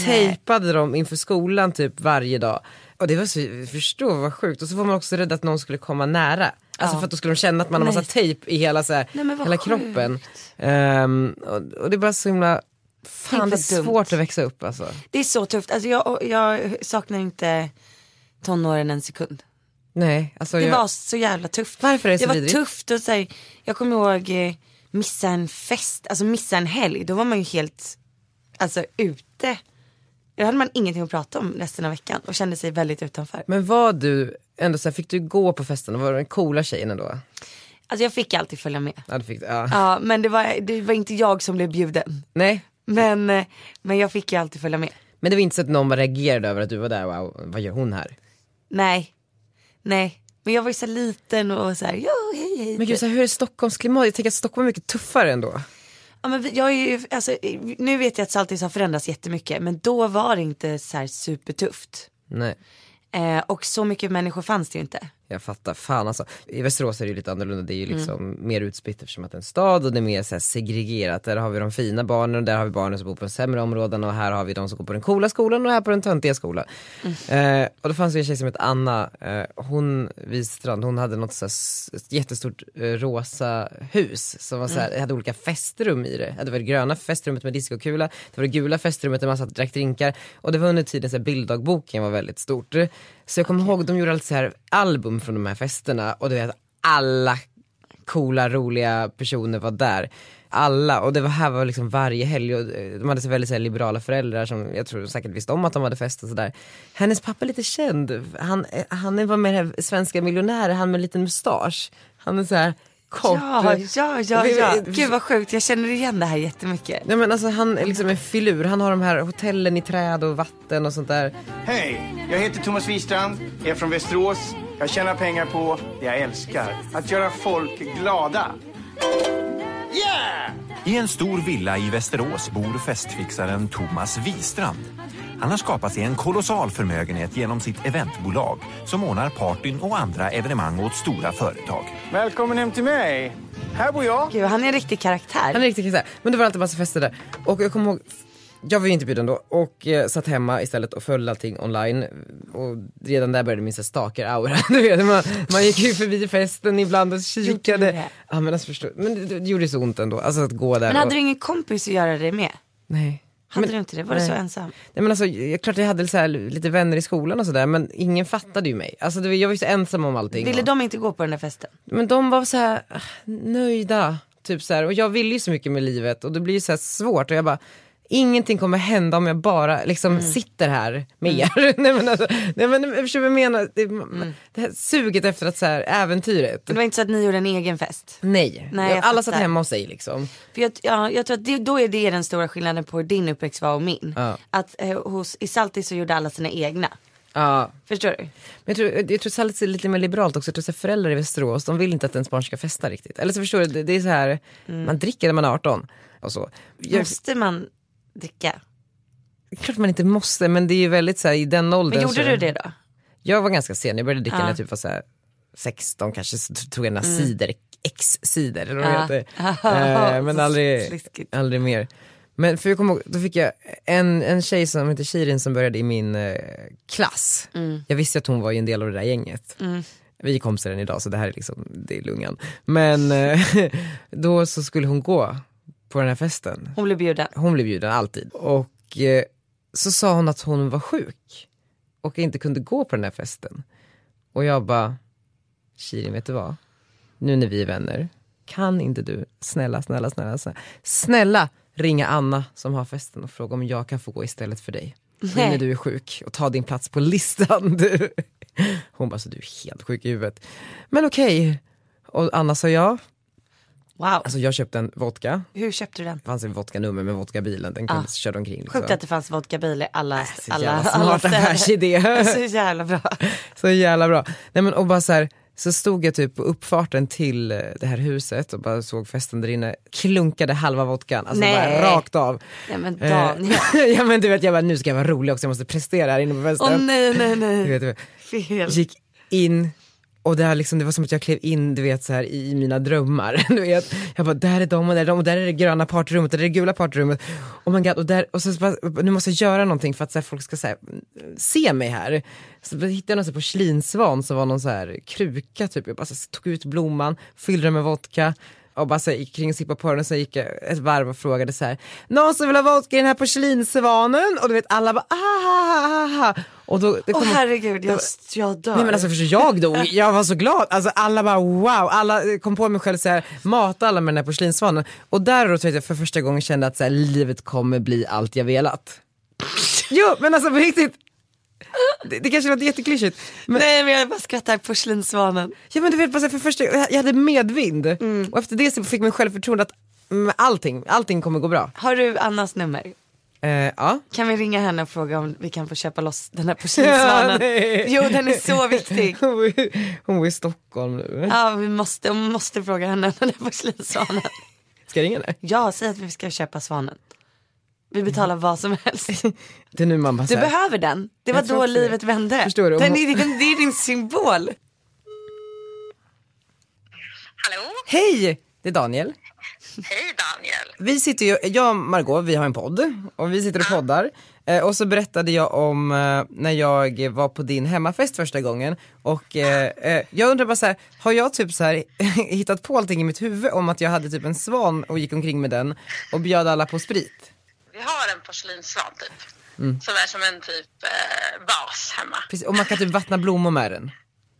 Speaker 1: tejpade dem inför skolan typ varje dag. Och det var så, förstå vad sjukt. Och så var man också rädd att någon skulle komma nära. Alltså
Speaker 2: Ja.
Speaker 1: för att då skulle de känna att man har massa
Speaker 2: Nej.
Speaker 1: tejp i hela, så här,
Speaker 2: Nej, men vad
Speaker 1: hela
Speaker 2: sjukt.
Speaker 1: kroppen. Ehm, och, och det är bara så himla, fan
Speaker 2: Tänk
Speaker 1: det
Speaker 2: vad
Speaker 1: är
Speaker 2: dumt.
Speaker 1: svårt att växa upp alltså.
Speaker 2: Det är så tufft. Alltså jag, jag saknar inte tonåren en sekund.
Speaker 1: Nej, alltså
Speaker 2: Det
Speaker 1: jag,
Speaker 2: var så jävla tufft.
Speaker 1: Varför är det så
Speaker 2: var
Speaker 1: vidrigt?
Speaker 2: tufft och så här, jag kommer ihåg eh, missa en fest, alltså missa en helg. Då var man ju helt, alltså ute. Då hade man ingenting att prata om resten av veckan och kände sig väldigt utanför.
Speaker 1: men var du, ändå så här, fick du gå på festen och var du den coola tjejen ändå?
Speaker 2: Alltså jag fick alltid följa med.
Speaker 1: Ja, du fick, ja.
Speaker 2: Ja men det var, det var inte jag som blev bjuden.
Speaker 1: Nej,
Speaker 2: Men, eh, men jag fick ju alltid följa med.
Speaker 1: men det var inte så att någon bara reagerade över att du var där, wow, vad gör hon här?
Speaker 2: Nej, nej. Men jag var ju så liten och så här, ja hej hej.
Speaker 1: Men gud, så här, hur är Stockholms klimat? Jag tänker att Stockholm är mycket tuffare ändå.
Speaker 2: Ja, men vi- jag är ju, alltså, nu vet jag att Saltis har förändrats jättemycket men då var det inte så här supertufft.
Speaker 1: Nej,
Speaker 2: Eh, och så mycket människor fanns det ju inte.
Speaker 1: jag fattar. Fan alltså. I Västerås är det ju lite annorlunda, det är ju liksom mer utspritt eftersom att det är en stad och det är mer så här segregerat. Där har vi de fina barnen och där har vi barnen som bor på de sämre områdena och här har vi de som går på den coola skolan och här på den töntiga skolan. Eh, och då fanns det ju en tjej som hette Anna, eh, hon vid Strand, hon hade något så här s- ett jättestort eh, rosa hus som var så här, hade olika festrum i det. Det var det gröna festrummet med discokula, det var det gula festrummet där man satt och drack drinkar och det var under tiden så här, bilddagboken var väldigt stort. Så jag kommer ihåg, de gjorde alltid så här album från de här festerna och du vet alla coola, roliga personer var där. Alla, och det var här var liksom varje helg och eh, de hade så väldigt så här, liberala föräldrar som jag tror säkert visste om att de hade fest och sådär. Hennes pappa är lite känd, han, eh, han var med i det här Svenska miljonärer, han med en liten mustasch. Han är så här kort.
Speaker 2: Ja, ja, ja,
Speaker 1: Vi-
Speaker 2: ja.
Speaker 1: vi-
Speaker 2: Gud vad sjukt, jag känner igen det här jättemycket.
Speaker 1: Nej men alltså han är liksom en filur, han har de här hotellen i träd och vatten och sånt där.
Speaker 7: Hej! Jag heter Thomas Wistrand, är från Västerås. Jag tjänar pengar på det jag älskar, att göra folk glada. Yeah!
Speaker 8: I en stor villa i Västerås bor festfixaren Thomas Wistrand. Han har skapat sig en kolossal förmögenhet genom sitt eventbolag som ordnar partyn och andra evenemang åt stora företag.
Speaker 7: Välkommen hem till mig. Här bor jag.
Speaker 2: Gud, han är en riktig karaktär.
Speaker 1: Han är riktigt karaktär. Men det var alltid massa fester där. Och jag kommer ihåg, jag var ju inte bjuden då och eh, satt hemma istället och följde allting online. Och redan där började min så här stalker-aura. Du vet, man, man gick ju förbi festen ibland och
Speaker 2: Gjorde du
Speaker 1: kikade.
Speaker 2: det?
Speaker 1: Ja men alltså förstå, men det, det gjorde ju så ont ändå. Alltså att gå där
Speaker 2: Men hade
Speaker 1: och,
Speaker 2: du ingen kompis att göra det med?
Speaker 1: Nej.
Speaker 2: Hade
Speaker 1: Men-
Speaker 2: du inte det? Var du
Speaker 1: nej.
Speaker 2: så ensam?
Speaker 1: Nej men alltså, jag, klart jag hade så här, lite vänner i skolan och sådär men ingen fattade ju mig. Alltså det, var- jag var ju så ensam om allting.
Speaker 2: Ville
Speaker 1: Och-
Speaker 2: de inte gå på den där festen?
Speaker 1: men de var så här ah, nöjda. Typ så här. Och jag ville ju så mycket med livet och det blir ju så här svårt och jag bara Ingenting kommer hända om jag bara liksom
Speaker 2: Mm.
Speaker 1: sitter här med er. nej men alltså, nej men förstår du vad jag menar? Det,
Speaker 2: Mm.
Speaker 1: det här suget efter att så här äventyret.
Speaker 2: Det var inte så att ni gjorde en egen fest?
Speaker 1: Nej,
Speaker 2: Nej, jag
Speaker 1: alla
Speaker 2: fattar.
Speaker 1: satt hemma hos sig liksom.
Speaker 2: För jag, ja, jag tror att det, då är det den stora skillnaden på hur din uppväxt var och min.
Speaker 1: Ja.
Speaker 2: Att eh, hos, i Saltis så gjorde alla sina egna.
Speaker 1: Ja.
Speaker 2: Förstår du?
Speaker 1: Men jag tror, jag tror Sallis är lite mer liberalt också, jag tror så här, föräldrar i Västerås, de vill inte att ens barn ska festa riktigt. Eller så förstår du, det, det är så här, man dricker när man är 18 och så. Jag,
Speaker 2: Mm. Måste man dricka?
Speaker 1: klart man inte måste men det är ju väldigt så här, i den åldern.
Speaker 2: Men
Speaker 1: så-
Speaker 2: gjorde du det då?
Speaker 1: Jag var ganska sen, jag började dricka när jag typ var så här 16 kanske, så t- tog jag den här cider, X-cider eller vad
Speaker 2: Mm. Ja.
Speaker 1: det heter. Eh, Men
Speaker 2: Så
Speaker 1: aldrig,
Speaker 2: sliskigt.
Speaker 1: aldrig mer. Men för jag kommer ihåg, då fick jag en, en tjej som heter Shirin som började i min eh, klass.
Speaker 2: Mm.
Speaker 1: Jag visste att hon var ju en del av det där gänget. Vi är kompisar än idag så det här är liksom, det är lungan. Men eh, då så skulle hon gå på den här festen
Speaker 2: Hon blev bjuden.
Speaker 1: hon blev bjuden alltid. Och eh, så sa hon att hon var sjuk och inte kunde gå på den här festen. Och jag bara, Shirin vet du vad? Nu när vi är vänner, kan inte du snälla, snälla, snälla, snälla, snälla ringa Anna som har festen och fråga om jag kan få gå istället för dig. Nu
Speaker 2: Nej.
Speaker 1: när du är sjuk och ta din plats på listan du. Hon bara, så du är helt sjuk i huvudet. Men okej. Och Anna sa ja.
Speaker 2: Wow.
Speaker 1: Alltså jag köpte en vodka.
Speaker 2: Hur köpte du den?
Speaker 1: Det fanns en vodka-nummer med vodka-bilen, den kunde, körde omkring. Liksom.
Speaker 2: Ah. Sjukt att det fanns vodkabil i alla,
Speaker 1: Äh, Så
Speaker 2: alla,
Speaker 1: jävla
Speaker 2: alla
Speaker 1: smart affärsidé.
Speaker 2: Så jävla bra.
Speaker 1: så jävla bra. Nej men och bara så här, Så stod jag typ på uppfarten till eh, det här huset och bara såg festen där inne, klunkade halva vodkan, alltså
Speaker 2: Nej.
Speaker 1: bara rakt av.
Speaker 2: Nej men
Speaker 1: Eh,
Speaker 2: Daniel.
Speaker 1: ja men du vet jag bara, nu ska jag vara rolig också, jag måste prestera här inne på festen.
Speaker 2: Åh nej
Speaker 1: Du
Speaker 2: nej nej.
Speaker 1: vet, du vet.
Speaker 2: Fel.
Speaker 1: Gick in och det, här liksom, det var som att jag klev in du vet, så här, i mina drömmar. Du vet. Jag bara, där är de och där är de och där är det gröna partrummet och där är det gula partrummet. Oh my God, och, där, och så bara, nu måste jag göra någonting för att så här, folk ska så här, mm, se mig här. Så då hittade jag någon så här, porslinsvan som var någon så här, kruka typ. Jag bara, så här, tog ut blomman, fyllde den med vodka. Och bara så här, gick kring och sippade på den och sen gick jag ett varv och frågade så här. Någon som vill ha vodka i den här porslinsvanen? Och du vet alla bara ah, ah, ah, ah. Och då, det
Speaker 2: Åh
Speaker 1: kom-
Speaker 2: herregud jag, jag dör.
Speaker 1: Nej men alltså förstår jag dog, jag var så glad. Alltså alla bara wow, alla eh, kom på mig själv så här, mata alla med den här porslinsvanen. Och där och då tror jag att jag för första gången kände att så här, livet kommer bli allt jag velat. jo men alltså på riktigt. Det, det kanske låter jätteklyschigt. Men,
Speaker 2: Nej men jag bara skrattar, porslinsvanen.
Speaker 1: ja, men du vet, bara så här, för första, jag jag hade medvind. Och efter det så fick min självförtroende att mm, allting, allting kommer gå bra.
Speaker 2: Har du Annas nummer?
Speaker 1: Eh, ja.
Speaker 2: Kan vi ringa henne och fråga om vi kan få köpa loss den här
Speaker 1: Ja,
Speaker 2: porslinsvanen?
Speaker 1: nej.
Speaker 2: jo den är så viktig.
Speaker 1: Hon bor i- hon bor i Stockholm nu.
Speaker 2: Ja vi måste, vi måste fråga henne om den här porslinsvanen.
Speaker 1: Ska jag ringa henne?
Speaker 2: Ja säg att vi ska köpa svanen. Vi betalar vad som helst.
Speaker 1: Det är nu man bara
Speaker 2: Du
Speaker 1: så här-
Speaker 2: behöver den. Det var
Speaker 1: Jag tror
Speaker 2: då
Speaker 1: också det.
Speaker 2: livet vände.
Speaker 1: Förstår du? Om
Speaker 2: Den
Speaker 1: hon-
Speaker 2: är din, det är din symbol.
Speaker 9: Hallå?
Speaker 1: Hej! Det är Daniel.
Speaker 9: Hej Daniel.
Speaker 1: Vi sitter ju, jag och Margot, vi har en podd och vi sitter och poddar. Eh, och så berättade jag om eh, när jag var på din hemmafest första gången och eh, eh, jag undrar bara så här, har jag typ så här hittat på allting i mitt huvud om att jag hade typ en svan och gick omkring med den och bjöd alla på sprit?
Speaker 9: Vi har en porslinsvan typ. Som är som en typ eh, vas hemma.
Speaker 1: Mm. Precis, och man kan typ vattna blommor med den.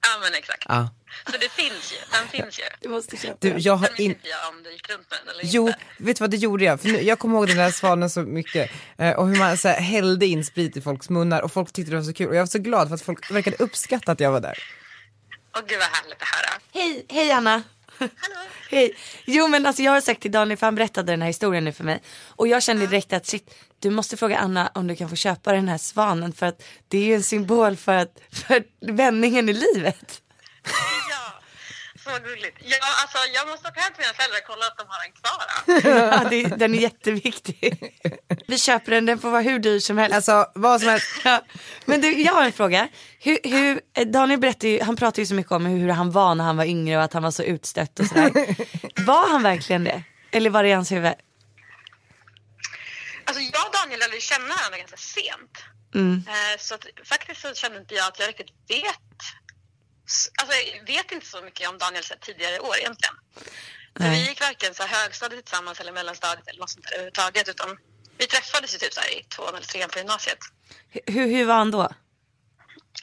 Speaker 9: Ja men exakt.
Speaker 1: Ja.
Speaker 9: Så det finns ju. Den finns ju.
Speaker 2: Du måste köpa
Speaker 1: Du,
Speaker 2: den.
Speaker 1: jag
Speaker 9: Sen
Speaker 1: har
Speaker 9: vet
Speaker 1: in...
Speaker 9: inte jag om du gick runt med den eller
Speaker 1: Jo,
Speaker 9: inte.
Speaker 1: vet du vad det gjorde jag? För nu, jag kommer ihåg den där svanen så mycket eh, och hur man så här, hällde in sprit i folks munnar och folk tyckte det var så kul och jag var så glad för att folk verkade uppskatta att jag var där.
Speaker 9: Åh gud vad härligt det här.
Speaker 2: Hej, hej Anna. hej. Jo men alltså jag har sagt till Daniel för han berättade den här historien nu för mig. Och jag kände direkt att shit, du måste fråga Anna om du kan få köpa den här svanen för att det är ju en symbol för, att, för vändningen i livet.
Speaker 9: Ja. Så gulligt. Ja, alltså, jag måste åka hem till mina föräldrar och kolla att de har den kvar.
Speaker 2: ja, det, den är jätteviktig. Vi köper den, den får vara hur dyr som helst.
Speaker 1: Alltså vad som helst.
Speaker 2: Ja. Men du, jag har en fråga. Hur, hur, eh, Daniel berättar ju, han pratar ju så mycket om hur han var när han var yngre och att han var så utstött och sådär. Var han verkligen det? Eller var det i hans huvud?
Speaker 9: Alltså, jag och Daniel lärde ju känna varandra ganska sent. Eh, Så att, faktiskt så kände inte jag att jag riktigt vet. s- Alltså, jag vet inte så mycket om Daniel så här, tidigare år egentligen. Så vi gick varken så här, högstadiet tillsammans eller mellanstadiet eller något sånt där överhuvudtaget. Utan vi träffades ju typ så här, i tvåan eller trean på gymnasiet.
Speaker 2: Hur, hur var han då?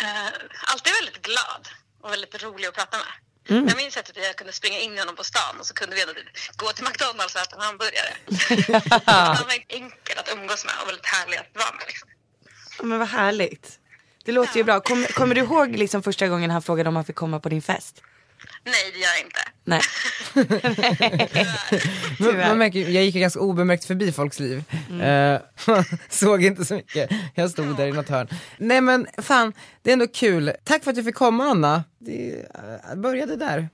Speaker 9: Eh, alltid väldigt glad och väldigt rolig att prata med. Jag minns att typ jag kunde springa in i honom på stan och så kunde vi ändå typ gå till McDonalds och äta en hamburgare. han var enkel att umgås med och väldigt härlig att vara med. Liksom.
Speaker 2: Ja, Men vad härligt. Det låter ju bra. Kom, kommer du ihåg liksom första gången han frågade om han fick komma på din fest?
Speaker 9: Nej, det gör jag inte.
Speaker 2: Nej.
Speaker 1: Man,
Speaker 2: Tyvärr. Mm.
Speaker 1: man märker, ju- jag gick ju ganska obemärkt förbi folks liv. Eh, man såg inte så mycket. Jag stod där i något hörn. Nej men fan, det är ändå kul. Tack för att du fick komma Anna. Det eh, började där.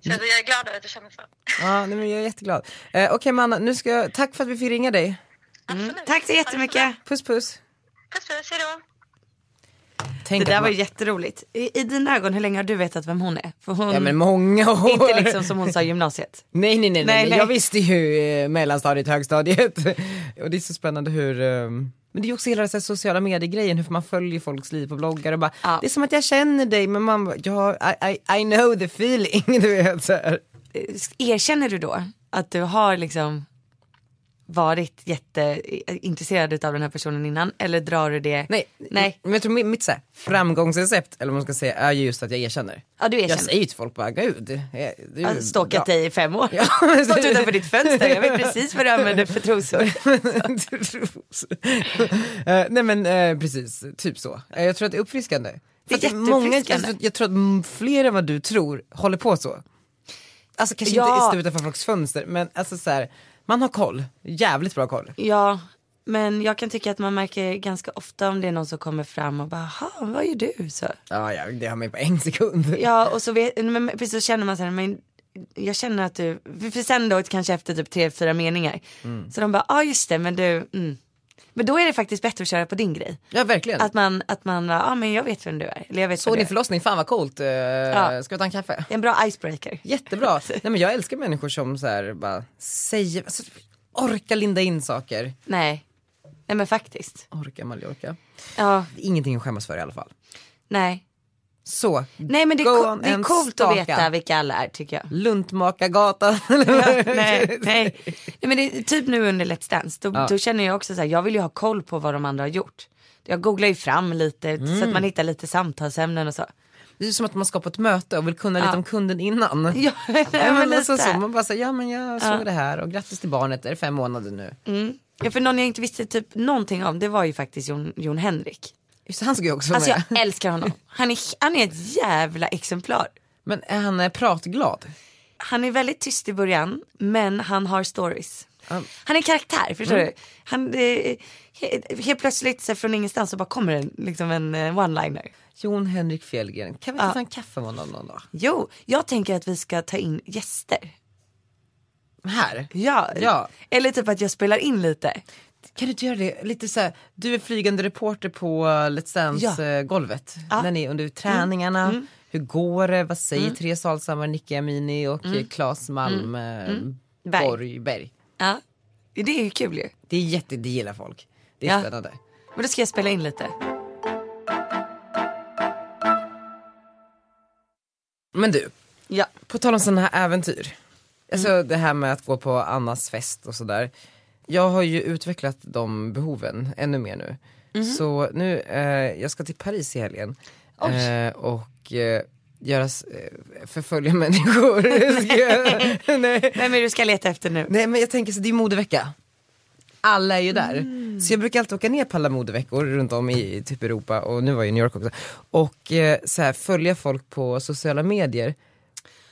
Speaker 9: Så
Speaker 2: Mm.
Speaker 9: jag är glad över att du känner så.
Speaker 1: Ja, nej, men jag är jätteglad. Eh, Okej Manna, nu ska jag, tack för att vi fick ringa dig.
Speaker 9: Absolut.
Speaker 2: Mm. Tack så jättemycket.
Speaker 1: Puss puss.
Speaker 9: Puss puss, hejdå.
Speaker 1: Tänk
Speaker 2: Det där
Speaker 1: att
Speaker 2: var
Speaker 1: man-
Speaker 2: ju jätteroligt. I, I dina ögon, hur länge har du vetat vem hon är? För hon,
Speaker 1: Ja men många år.
Speaker 2: inte liksom som hon sa i gymnasiet.
Speaker 1: Nej, nej, nej, nej,
Speaker 2: Nej,
Speaker 1: nej.
Speaker 2: nej.
Speaker 1: jag visste ju eh, mellanstadiet, högstadiet. och det är så spännande hur eh, men det är ju också hela den här sociala medier-grejen, hur man följer folks liv på bloggar och bara,
Speaker 2: Ja.
Speaker 1: det är som att jag känner dig, men man bara, ja, I, I, I know the feeling, du vet så här.
Speaker 2: Erkänner du då att du har liksom varit jätteintresserad av den här personen innan? Eller drar du det?
Speaker 1: Nej,
Speaker 2: Nej.
Speaker 1: men jag tror mitt, mitt så här, framgångsrecept, eller vad man ska säga, är ju just att jag erkänner.
Speaker 2: Ja, du erkänner.
Speaker 1: Jag säger ju till folk bara, gud. eh, det är ju
Speaker 2: Jag har
Speaker 1: bra.
Speaker 2: stalkat dig i fem år.
Speaker 1: Ja.
Speaker 2: Stått utanför ditt fönster. Jag vet precis vad du använder för trosor.
Speaker 1: Eh, nej men eh, precis, typ så. Eh, jag tror att det är uppfriskande.
Speaker 2: Det är
Speaker 1: För att många, jag,
Speaker 2: jätteuppfriskande.
Speaker 1: tror- jag tror att m- fler än vad du tror håller på så. Alltså kanske
Speaker 2: Ja.
Speaker 1: inte står utanför folks fönster men alltså så här, man har koll, jävligt bra koll.
Speaker 2: Ja, Men jag kan tycka att man märker ganska ofta om det är någon som kommer fram och bara, "Jaha, vad gör du? Så.
Speaker 1: Ja, ja, det har man ju på en sekund.
Speaker 2: Ja och så, vet, men, precis, så känner man sen, men jag känner att du, för sen då kanske efter typ tre, fyra meningar.
Speaker 1: Mm.
Speaker 2: Så de bara, ja ah, just det men du, mm. Men då är det faktiskt bättre att köra på din grej.
Speaker 1: Ja, verkligen.
Speaker 2: Att man, att man, ja ah, men jag vet vem du är. Eller jag vet
Speaker 1: Såg
Speaker 2: vem
Speaker 1: din
Speaker 2: du är.
Speaker 1: förlossning, fan vad coolt. Eh, Ska vi ta en kaffe?
Speaker 2: En bra icebreaker.
Speaker 1: Jättebra. Nej, men jag älskar människor som så här, bara säger, alltså, orkar linda in saker.
Speaker 2: Nej. Nej men faktiskt.
Speaker 1: Orka Mallorca.
Speaker 2: Ja,
Speaker 1: Ingenting att skämmas för i alla fall.
Speaker 2: nej.
Speaker 1: Så,
Speaker 2: Nej men det, är
Speaker 1: go
Speaker 2: co-
Speaker 1: on
Speaker 2: det är
Speaker 1: and
Speaker 2: coolt
Speaker 1: staka.
Speaker 2: att veta vilka alla är tycker jag.
Speaker 1: Luntmakargatan.
Speaker 2: nej, nej. nej men det är typ nu under Let's Dance, då, då känner jag också så här, jag vill ju ha koll på vad de andra har gjort. Jag googlar ju fram lite så
Speaker 1: Mm.
Speaker 2: att man hittar lite samtalsämnen och så.
Speaker 1: Det är som att man ska på ett möte och vill kunna lite om kunden innan.
Speaker 2: Ja, nej,
Speaker 1: Ja,
Speaker 2: men
Speaker 1: men alltså,
Speaker 2: lite.
Speaker 1: så, man bara säger ja men jag såg det här och grattis till barnet, är det fem månader nu?
Speaker 2: Mm. Ja, för någon jag inte visste typ någonting om det var ju faktiskt Jon, Jon Henrik.
Speaker 1: Just det, han ska ju också vara
Speaker 2: Alltså
Speaker 1: med.
Speaker 2: jag älskar honom. Han är, han är ett jävla exemplar.
Speaker 1: Men är han eh, pratglad?
Speaker 2: Han är väldigt tyst i början men han har stories. Han är karaktär, förstår
Speaker 1: Mm.
Speaker 2: du? Han, eh, he, helt plötsligt så här, från ingenstans så bara kommer en, liksom en eh, one-liner.
Speaker 1: Jon Henrik Fjällgren, kan vi inte ta en kaffe med honom någon dag?
Speaker 2: Jo, jag tänker att vi ska ta in gäster.
Speaker 1: Här?
Speaker 2: Ja.
Speaker 1: Ja.
Speaker 2: Eller typ att jag spelar in lite.
Speaker 1: Kan du inte göra det? Lite så här, du är flygande reporter på eh, Let's
Speaker 2: Ja. Mm.
Speaker 1: Dance-golvet. När ni är under träningarna. Hur går det? Vad säger Therese Alshammar, Nicky Amini och mm. Claes Malm eh,
Speaker 2: Mm. Berg.
Speaker 1: Borg Berg?
Speaker 2: Ja. Det är ju kul ju.
Speaker 1: Det är jätte, det gillar folk. Det är
Speaker 2: Ja.
Speaker 1: spännande.
Speaker 2: Men då ska jag spela in lite.
Speaker 1: Men du,
Speaker 2: Ja.
Speaker 1: på tal om sådana här äventyr. Alltså det här med att gå på Annas fest och sådär. Jag har ju utvecklat de behoven ännu mer nu. Så nu, eh, jag ska till Paris i helgen. Eh, och eh, göra, s- eh, förfölja människor. Ska jag- Nej.
Speaker 2: Vem är det du ska leta efter nu?
Speaker 1: Nej men jag tänker så det är modevecka. Alla är ju där.
Speaker 2: Mm.
Speaker 1: Så jag brukar alltid åka ner på alla modeveckor runt om i i typ Europa och nu var jag i New York också. Och eh, så här, följa folk på sociala medier.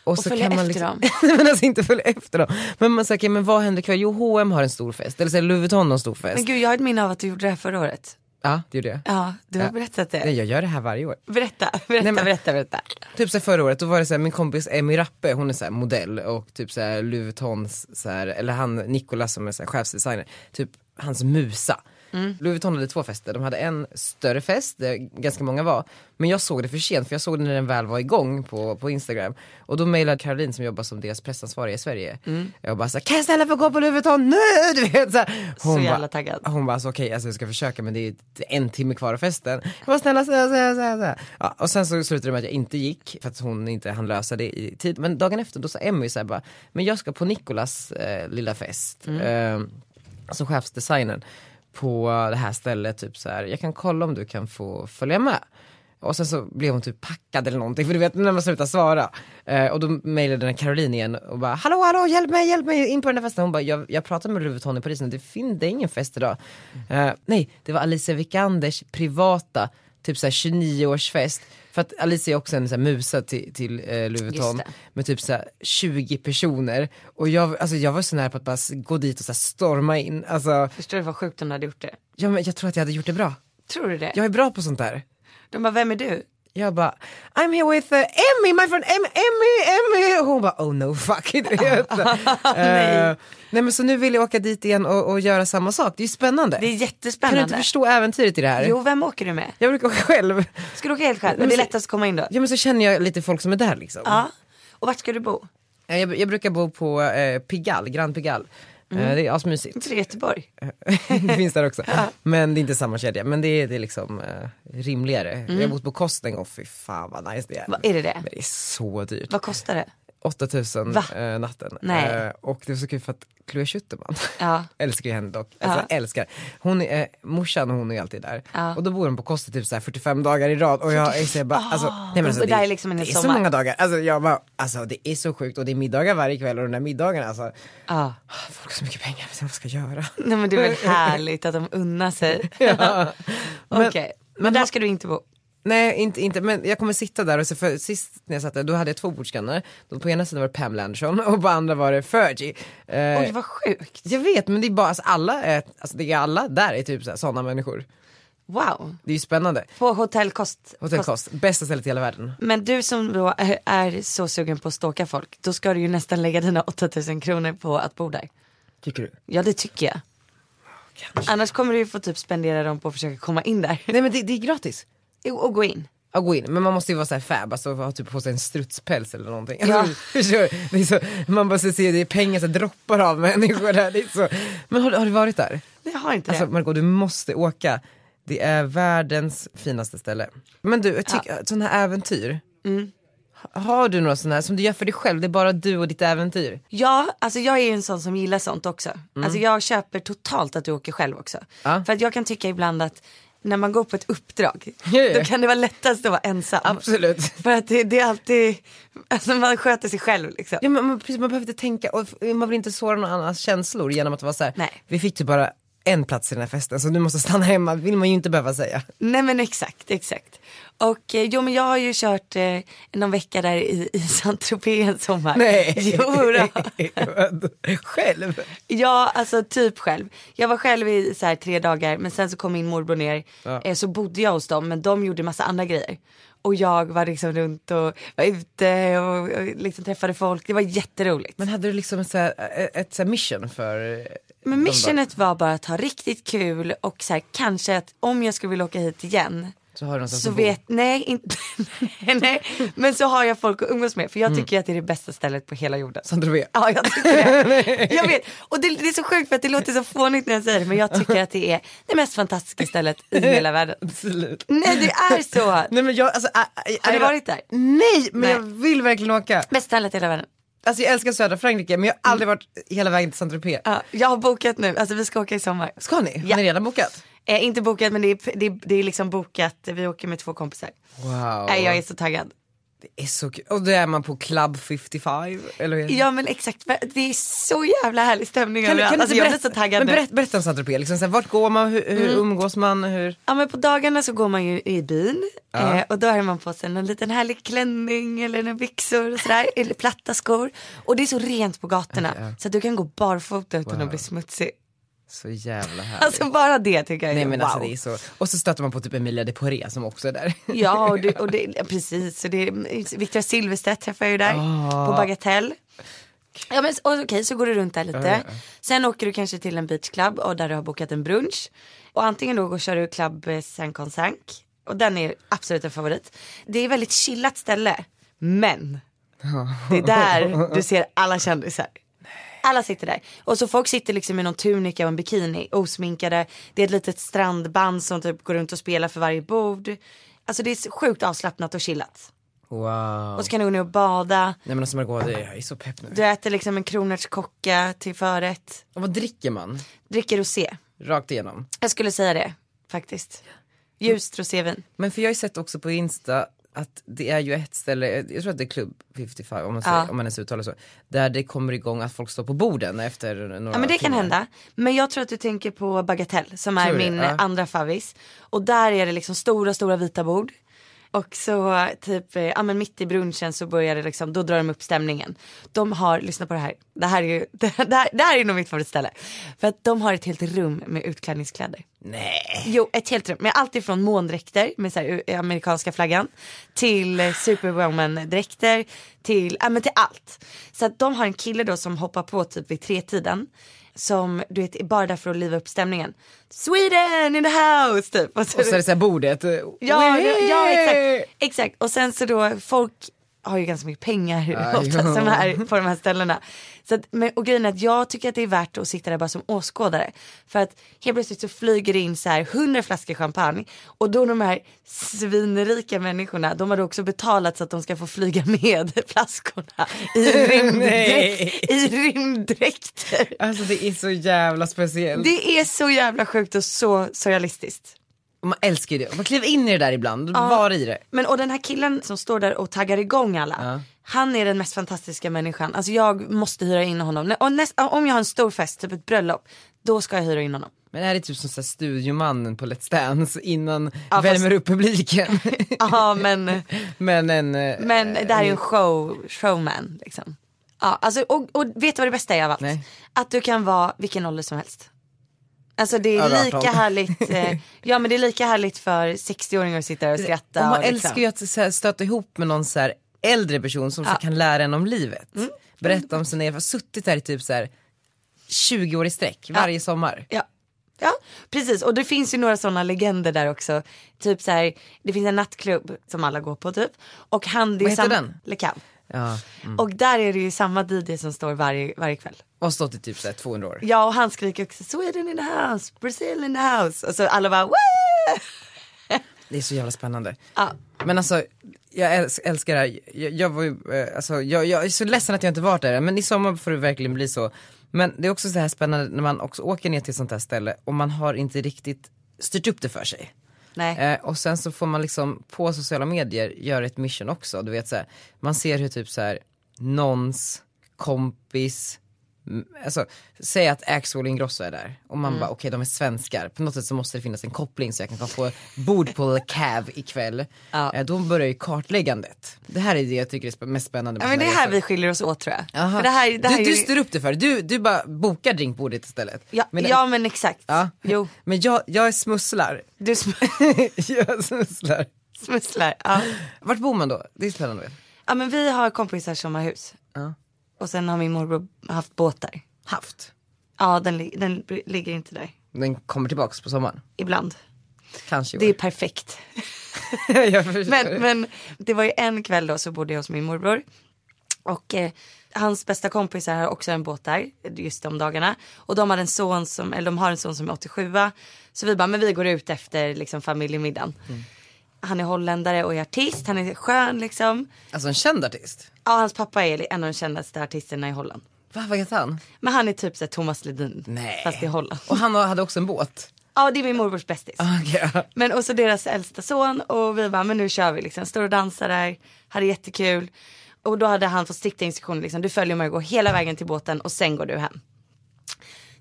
Speaker 2: Och följa efter dem.
Speaker 1: Nej, men alltså inte följa efter dem. Men man säger, okej, men vad händer ikväll? Jo H&M har en stor fest. Eller så här, Louis Vuitton har en stor fest.
Speaker 2: Men gud, jag har ett minne av att du gjorde det här förra året.
Speaker 1: Ja, det gjorde jag.
Speaker 2: Ja, du har
Speaker 1: Ja.
Speaker 2: berättat det.
Speaker 1: Nej, jag gör det här varje år.
Speaker 2: Berätta, berätta,
Speaker 1: Nej, men-
Speaker 2: berätta, berätta.
Speaker 1: Typ så här, förra året, då var det så här, min kompis Emmy Rappe, hon är så här, modell och typ så här, Louis Vuittons, så här, eller han Nicolas som är så här, chefsdesigner, typ hans musa.
Speaker 2: Mm.
Speaker 1: Louis Vuitton hade två fester, de hade en större fest där ganska många var. Men jag såg det för sent för jag såg det när den väl var igång på, på Instagram. Och då mejlade Caroline som jobbar som deras pressansvariga i Sverige.
Speaker 2: Mm.
Speaker 1: Jag bara så här, kan jag snälla få gå på Louis Vuitton nu? Du vet så här.
Speaker 2: Så
Speaker 1: bara-
Speaker 2: jävla taggad.
Speaker 1: hon bara, alltså, okej alltså, jag ska försöka men det är en timme kvar av festen. Jag bara, snälla snälla snälla snälla. snälla. Ja, och sen så slutade det med att jag inte gick för att hon inte hann lösa det i tid. Men dagen efter då sa Emmy så här bara, men jag ska på Nicolas eh, lilla fest. Eh, alltså chefsdesignern på det här stället, typ så här, jag kan kolla om du kan få följa med. Och sen så blev hon typ packad eller någonting, för du vet när man slutar svara. Eh, och då mejlade den här Caroline igen och bara hallå hallå hjälp mig, hjälp mig in på den där festen. Hon bara jag, jag pratade med Louis Vuitton i Paris nu, det, fin- det är ingen fest idag. Eh, nej, det var Alicia Vikanders privata typ såhär 29-årsfest. För att Alicia är också en så här musa till, till eh, Louis Vuitton
Speaker 2: det.
Speaker 1: med typ så här 20 personer. Och jag, alltså jag var så nära på att bara s- gå dit och så här storma in. Alltså,
Speaker 2: Förstår du vad sjukt hon hade gjort det?
Speaker 1: ja, men jag tror att jag hade gjort det bra.
Speaker 2: Tror du det?
Speaker 1: Jag är bra på sånt där.
Speaker 2: De bara, vem är du?
Speaker 1: Jag bara, I'm here with uh, Emmy, my friend Emmy, Emmy, Emmy. Och hon bara, oh no fuck. Du vet. nej. nej men så nu vill jag åka dit igen och, och göra samma sak. Det är ju spännande.
Speaker 2: Det är
Speaker 1: Kan du
Speaker 2: jättespännande.
Speaker 1: inte förstå äventyret i det här?
Speaker 2: Jo, vem åker du med?
Speaker 1: Jag brukar åka själv.
Speaker 2: Ska du åka helt själv?
Speaker 1: Men
Speaker 2: Det är
Speaker 1: så-
Speaker 2: lättast att komma in då.
Speaker 1: Ja men så känner jag lite folk som är där liksom.
Speaker 2: Ja. Och vart ska du bo?
Speaker 1: Eh, Jag, jag brukar bo på eh, Pigalle, Grand Pigalle.
Speaker 2: Mm.
Speaker 1: Eh, det är asmysigt.
Speaker 2: Inte det Göteborg?
Speaker 1: det finns där också. Men det är inte samma kedja. Men det är, det är liksom eh, rimligare. Jag har bott på Kosten och fy fan vad nice det är.
Speaker 2: Mm. Va, är det det?
Speaker 1: Men det är så dyrt.
Speaker 2: Vad kostar det?
Speaker 1: 8000
Speaker 2: Va?
Speaker 1: eh, natten.
Speaker 2: Nej.
Speaker 1: Eh, och det var så kul för att Chloe Schuterman,
Speaker 2: Ja.
Speaker 1: älskar ju henne dock. Alltså, älskar. Hon är, eh, morsan hon är alltid där. Och då bor hon på Koster typ så här 45 dagar i rad. Och jag är så här bara, alltså, nej, men alltså,
Speaker 2: Och
Speaker 1: det,
Speaker 2: Ah. där är liksom en
Speaker 1: det är så
Speaker 2: sommar.
Speaker 1: många dagar. Alltså, jag bara, alltså det är så sjukt och det är middagar varje kväll och de där middagarna alltså.
Speaker 2: Ja.
Speaker 1: Folk har så mycket pengar, jag vet inte vad jag ska göra.
Speaker 2: Nej men det är väl härligt att de unnar sig. Okej, men, där ska du inte bo.
Speaker 1: Nej inte, inte, men jag kommer sitta där och se, för sist när jag satt där då hade jag två bordskanner, då på ena sidan var det Pamela Anderson och på andra var det Fergie. Eh,
Speaker 6: Oj, vad sjukt.
Speaker 1: jag vet men det är bara, alltså alla, är, alltså det är alla där är typ sådana människor.
Speaker 2: Wow.
Speaker 1: Det är ju spännande.
Speaker 2: På hotell Kost.
Speaker 1: Hotell
Speaker 2: Kost.
Speaker 1: Kost, bästa stället i hela världen.
Speaker 2: Men du som då är- är så sugen på att stalka folk, då ska du ju nästan lägga dina 8000 kronor på att bo där.
Speaker 1: Tycker du?
Speaker 2: Ja det tycker jag. Annars kommer du ju få typ spendera dem på att försöka komma in där.
Speaker 1: Nej men det, det är gratis.
Speaker 2: Och gå in.
Speaker 1: Ja gå in, men man måste ju vara såhär fab, alltså ha typ på sig en strutspäls eller någonting. Alltså, förstår du? det är så, man bara ser det är pengar som droppar av människor där. Det är så. Men har, du- har du varit där?
Speaker 2: Nej, Jag har inte
Speaker 1: Alltså
Speaker 2: det.
Speaker 1: Margot du måste åka. Det är världens finaste ställe. Men du, jag tycker, sådana här äventyr. Ha- Har du några sådana här som du gör för dig själv? Det är bara du och ditt äventyr.
Speaker 2: Ja, alltså jag är ju en sån som gillar sånt också. Alltså jag köper totalt att du åker själv också.
Speaker 1: Mm. Ja.
Speaker 2: För att jag kan tycka ibland att när man går på ett uppdrag,
Speaker 1: Ja, ja.
Speaker 2: då kan det vara lättast att vara ensam.
Speaker 1: Absolut.
Speaker 2: För att det, det är alltid, alltså man sköter sig själv liksom.
Speaker 1: Ja, men, man, precis, man behöver inte tänka och f- man vill inte såra någon annans känslor genom att vara så här.
Speaker 2: Nej.
Speaker 1: vi fick typ bara en plats i den här festen så du måste stanna hemma, vill man ju inte behöva säga.
Speaker 2: Nej men exakt, exakt. Och eh, jo men jag har ju kört eh, någon vecka där i, i Saint-Tropez en sommar.
Speaker 1: Nej.
Speaker 2: Jo, då.
Speaker 1: Själv?
Speaker 2: Ja, alltså typ själv. Jag var själv i så här, tre dagar men sen så kom min morbror ner.
Speaker 1: Ja.
Speaker 2: Eh, så bodde jag hos dem men de gjorde massa andra grejer. Och jag var liksom runt och var ute och, och liksom träffade folk. Det var jätteroligt.
Speaker 1: Men hade du liksom så här, eh, ett så här mission för eh,
Speaker 2: Men
Speaker 1: de
Speaker 2: missionet var bara att ha riktigt kul och så här, kanske att om jag skulle vilja åka hit igen
Speaker 1: dagarna? Så har du någonstans
Speaker 2: så
Speaker 1: att bo.
Speaker 2: vet, nej inte, nej, nej. Men så har jag folk att umgås med för
Speaker 1: Mm.
Speaker 2: jag tycker ju att det är det bästa stället på hela jorden.
Speaker 1: Som du vet.
Speaker 2: Ja, jag tycker det. Jag vet. Och det, det är så sjukt för att det låter så fånigt när jag säger det men jag tycker att det är det mest fantastiska stället i hela världen.
Speaker 1: Absolut.
Speaker 2: Nej det är så.
Speaker 1: Nej men jag, alltså, ä, ä,
Speaker 2: Har du
Speaker 1: ä-
Speaker 2: varit där?
Speaker 1: Nej men
Speaker 2: Nej.
Speaker 1: jag vill verkligen åka.
Speaker 2: Bästa stället i hela världen.
Speaker 1: Alltså jag älskar södra Frankrike men jag har aldrig varit hela vägen till Saint-Tropez.
Speaker 2: Ja, jag har bokat nu, alltså vi ska åka i sommar.
Speaker 1: Ska ni? Har
Speaker 2: Ja.
Speaker 1: ni redan bokat?
Speaker 2: Eh, inte bokat men det är, det, är, det är liksom bokat, vi åker med två kompisar.
Speaker 1: Wow.
Speaker 2: Nej jag är så taggad.
Speaker 1: Det är så kul. Och då är man på Club 55 eller hur?
Speaker 2: Ja men exakt, för det är så jävla härlig stämning
Speaker 1: Kan, du-
Speaker 2: överallt.
Speaker 1: kan du
Speaker 2: alltså,
Speaker 1: inte berätta, men
Speaker 2: jag blir så taggad nu. Mm.
Speaker 1: berätta, berätta om Saint-Tropez, liksom, så här, vart går man, hur, hur umgås man, hur?
Speaker 2: Ja men på dagarna så går man ju i byn eh, och då har man på sig en liten härlig klänning eller några byxor och sådär, eller platta skor. Och det är så rent på gatorna så att du kan gå barfota utan att bli smutsig.
Speaker 1: Så jävla härligt.
Speaker 2: Alltså bara det tycker jag
Speaker 1: Nej
Speaker 2: är
Speaker 1: men
Speaker 2: wow.
Speaker 1: alltså det är så, och så stöter man på typ Emilia de Poré som också är där.
Speaker 2: Ja och det, och det, ja, precis, och det, Victor Silvstedt träffar jag ju där på Bagatell. Ja men s- och okej så går du runt där lite. Sen åker du kanske till en beachclub och där du har bokat en brunch. Och antingen då går kör du Club eh, Sankonsank. Och den är absolut en favorit. Det är ett väldigt chillat ställe. Men det är där du ser alla kändisar. Alla sitter där. Och så folk sitter liksom i någon tunika och en bikini, osminkade. Det är ett litet strandband som typ går runt och spelar för varje bord. Alltså det är så sjukt avslappnat och chillat.
Speaker 1: Wow.
Speaker 2: Och så kan du gå ner och bada.
Speaker 1: Nej men alltså Margot, jag är så pepp nu.
Speaker 2: Du äter liksom en kronärtskocka till förrätt.
Speaker 1: Och vad dricker man?
Speaker 2: Dricker rosé.
Speaker 1: Rakt igenom.
Speaker 2: Jag skulle säga det faktiskt. Ljust rosévin.
Speaker 1: Men för jag har ju sett också på Insta att det är ju ett ställe, jag tror att det är Club 55 om man, säger,
Speaker 2: Ja.
Speaker 1: om man ens uttalar så, där det kommer igång att folk står på borden efter några
Speaker 2: Ja men det kan
Speaker 1: timmar.
Speaker 2: hända. Men jag tror att du tänker på Bagatell som är
Speaker 1: Tror det,
Speaker 2: min
Speaker 1: ja.
Speaker 2: eh, andra favvis. Och där är det liksom stora, stora vita bord. Och så eh, typ, eh, ja men mitt i brunchen så börjar det liksom, då drar de upp stämningen. De har, lyssna på det här, det här är ju, det här, det här är nog mitt favoritställe. För att de har ett helt rum med utklädningskläder.
Speaker 1: Nej.
Speaker 2: Jo, ett helt rum. Med allt ifrån måndräkter med så här, u- amerikanska flaggan till eh, superwoman-dräkter till, ja men till allt. Så att de har en kille då som hoppar på typ vid tretiden som du vet är bara där för att liva upp stämningen. Sweden in the house typ. Och så-
Speaker 1: Och så är det såhär bordet. eh,
Speaker 2: Ja, det, ja
Speaker 1: "Wee!"
Speaker 2: exakt, exakt. Och sen så då, folk har ju ganska mycket pengar
Speaker 1: Ja,
Speaker 2: ofta
Speaker 1: ja.
Speaker 2: som är på de här ställena. Så att, men, och grejen är att jag tycker att det är värt att sitta där bara som åskådare. För att helt plötsligt så flyger det in så här 100 flaskor champagne och då de här svinrika människorna, de har då också betalat så att de ska få flyga med flaskorna i,
Speaker 1: Nej.
Speaker 2: rymddräkt, i rymddräkter.
Speaker 1: Alltså det är så jävla speciellt.
Speaker 2: Det är så jävla sjukt och så surrealistiskt.
Speaker 1: Och Man älskar ju det. Man kliver in i det där ibland, var i det.
Speaker 2: Men och den här killen som står där och taggar igång alla. Han är den mest fantastiska människan. Alltså jag måste hyra in honom. Nä- och näst- Om jag har en stor fest, typ ett bröllop, då ska jag hyra in honom.
Speaker 1: Men är det typ som så här studiomannen på Let's Dance innan
Speaker 2: Ja, fast-
Speaker 1: värmer upp publiken?
Speaker 2: Ja men,
Speaker 1: men en, eh,
Speaker 2: men det här är ju en show, showman liksom. Ja, alltså, och, och vet du vad det bästa är av allt?
Speaker 1: Nej.
Speaker 2: Att du kan vara vilken ålder som helst. Alltså det
Speaker 1: Ja, det
Speaker 2: är
Speaker 1: är
Speaker 2: lika
Speaker 1: 18.
Speaker 2: härligt, eh, ja men det är lika härligt för 60-åringar att sitta och skratta.
Speaker 1: och man
Speaker 2: och liksom.
Speaker 1: älskar ju att så här, stöta ihop med någon så här äldre person som så kan lära en om livet.
Speaker 2: Mm.
Speaker 1: Berätta om sina erfarenheter, suttit här i typ så här 20 år i sträck varje sommar.
Speaker 2: Ja. Ja, precis. Och det finns ju några sådana legender där också. Typ så här, det finns en nattklubb som alla går på typ. Och han,
Speaker 1: Vad
Speaker 2: det är
Speaker 1: heter
Speaker 2: samma-
Speaker 1: den? Mm.
Speaker 2: Le Cave.
Speaker 1: Ja.
Speaker 2: Och där är det ju samma DJ som står varje, varje kväll.
Speaker 1: Och stått i typ så här 200 år.
Speaker 2: Ja, och han skriker också Sweden in the house, Brazil in the house. Och så alla bara Woo!
Speaker 1: Det är så jävla spännande.
Speaker 2: Ja.
Speaker 1: Men alltså, jag äls- älskar det här. Jag, jag, var ju, eh, alltså, jag, jag är så ledsen att jag inte varit där, men i sommar får det verkligen bli så. Men det är också så här spännande när man också åker ner till sånt här ställe och man har inte riktigt styrt upp det för sig.
Speaker 2: Nej.
Speaker 1: Eh, och sen så får man liksom på sociala medier göra ett mission också. Du vet så här, man ser hur typ så här någons kompis, m- alltså säg att Axel Ingrosso är där och
Speaker 2: Mm.
Speaker 1: man bara okej de är svenskar, på något sätt så måste det finnas en koppling så jag kan få bord på Le Cave ikväll.
Speaker 2: Ja.
Speaker 1: Eh, då börjar ju kartläggandet. Det här är det jag tycker är sp- mest spännande.
Speaker 2: Ja,
Speaker 1: med
Speaker 2: men det
Speaker 1: såna
Speaker 2: är här
Speaker 1: resor.
Speaker 2: vi skiljer oss åt tror jag.
Speaker 1: Aha.
Speaker 2: För det här, det här
Speaker 1: du,
Speaker 2: är
Speaker 1: du
Speaker 2: ju-
Speaker 1: styr upp det för du, du bara bokar drinkbordet istället.
Speaker 2: ja,
Speaker 1: Men-
Speaker 2: ja, men exakt.
Speaker 1: Ja.
Speaker 2: Jo,
Speaker 1: Men jag, jag är smusslar.
Speaker 2: du sm-
Speaker 1: jag smusslar.
Speaker 2: smusslar. Ja.
Speaker 1: Vart bor man då? Det är spännande att veta.
Speaker 2: ja, men vi har kompisar som har hus.
Speaker 1: Ja.
Speaker 2: Och sen har min morbror haft båtar.
Speaker 1: Haft.
Speaker 2: Ja, den, li- den b- ligger inte där.
Speaker 1: Den kommer tillbaks på sommaren.
Speaker 2: Ibland.
Speaker 1: Kanske i år.
Speaker 2: Det är perfekt.
Speaker 1: jag förstår.
Speaker 2: Men, men det var ju en kväll då så bodde jag hos min morbror. Och eh, hans bästa kompisar har också en båt där just de dagarna. Och de har en son som, eller de har en son som är 87 Så vi bara, men vi går ut efter liksom familjemiddagen. Han är holländare och är artist, han är skön liksom.
Speaker 1: Alltså en känd artist.
Speaker 2: Ja, hans pappa är en av de kändaste artisterna i Holland.
Speaker 1: Va, vad heter han?
Speaker 2: Men han är typ såhär Thomas Ledin.
Speaker 1: Nej.
Speaker 2: Fast i Holland.
Speaker 1: Och han hade också en båt.
Speaker 2: Ja, det är min morbrors bästis.
Speaker 1: Okay.
Speaker 2: Men och så deras äldsta son och vi bara, men nu kör vi liksom. Står och dansar där, hade jättekul. Och då hade han fått strikta instruktioner liksom, du följer mig och går hela vägen till båten och sen går du hem.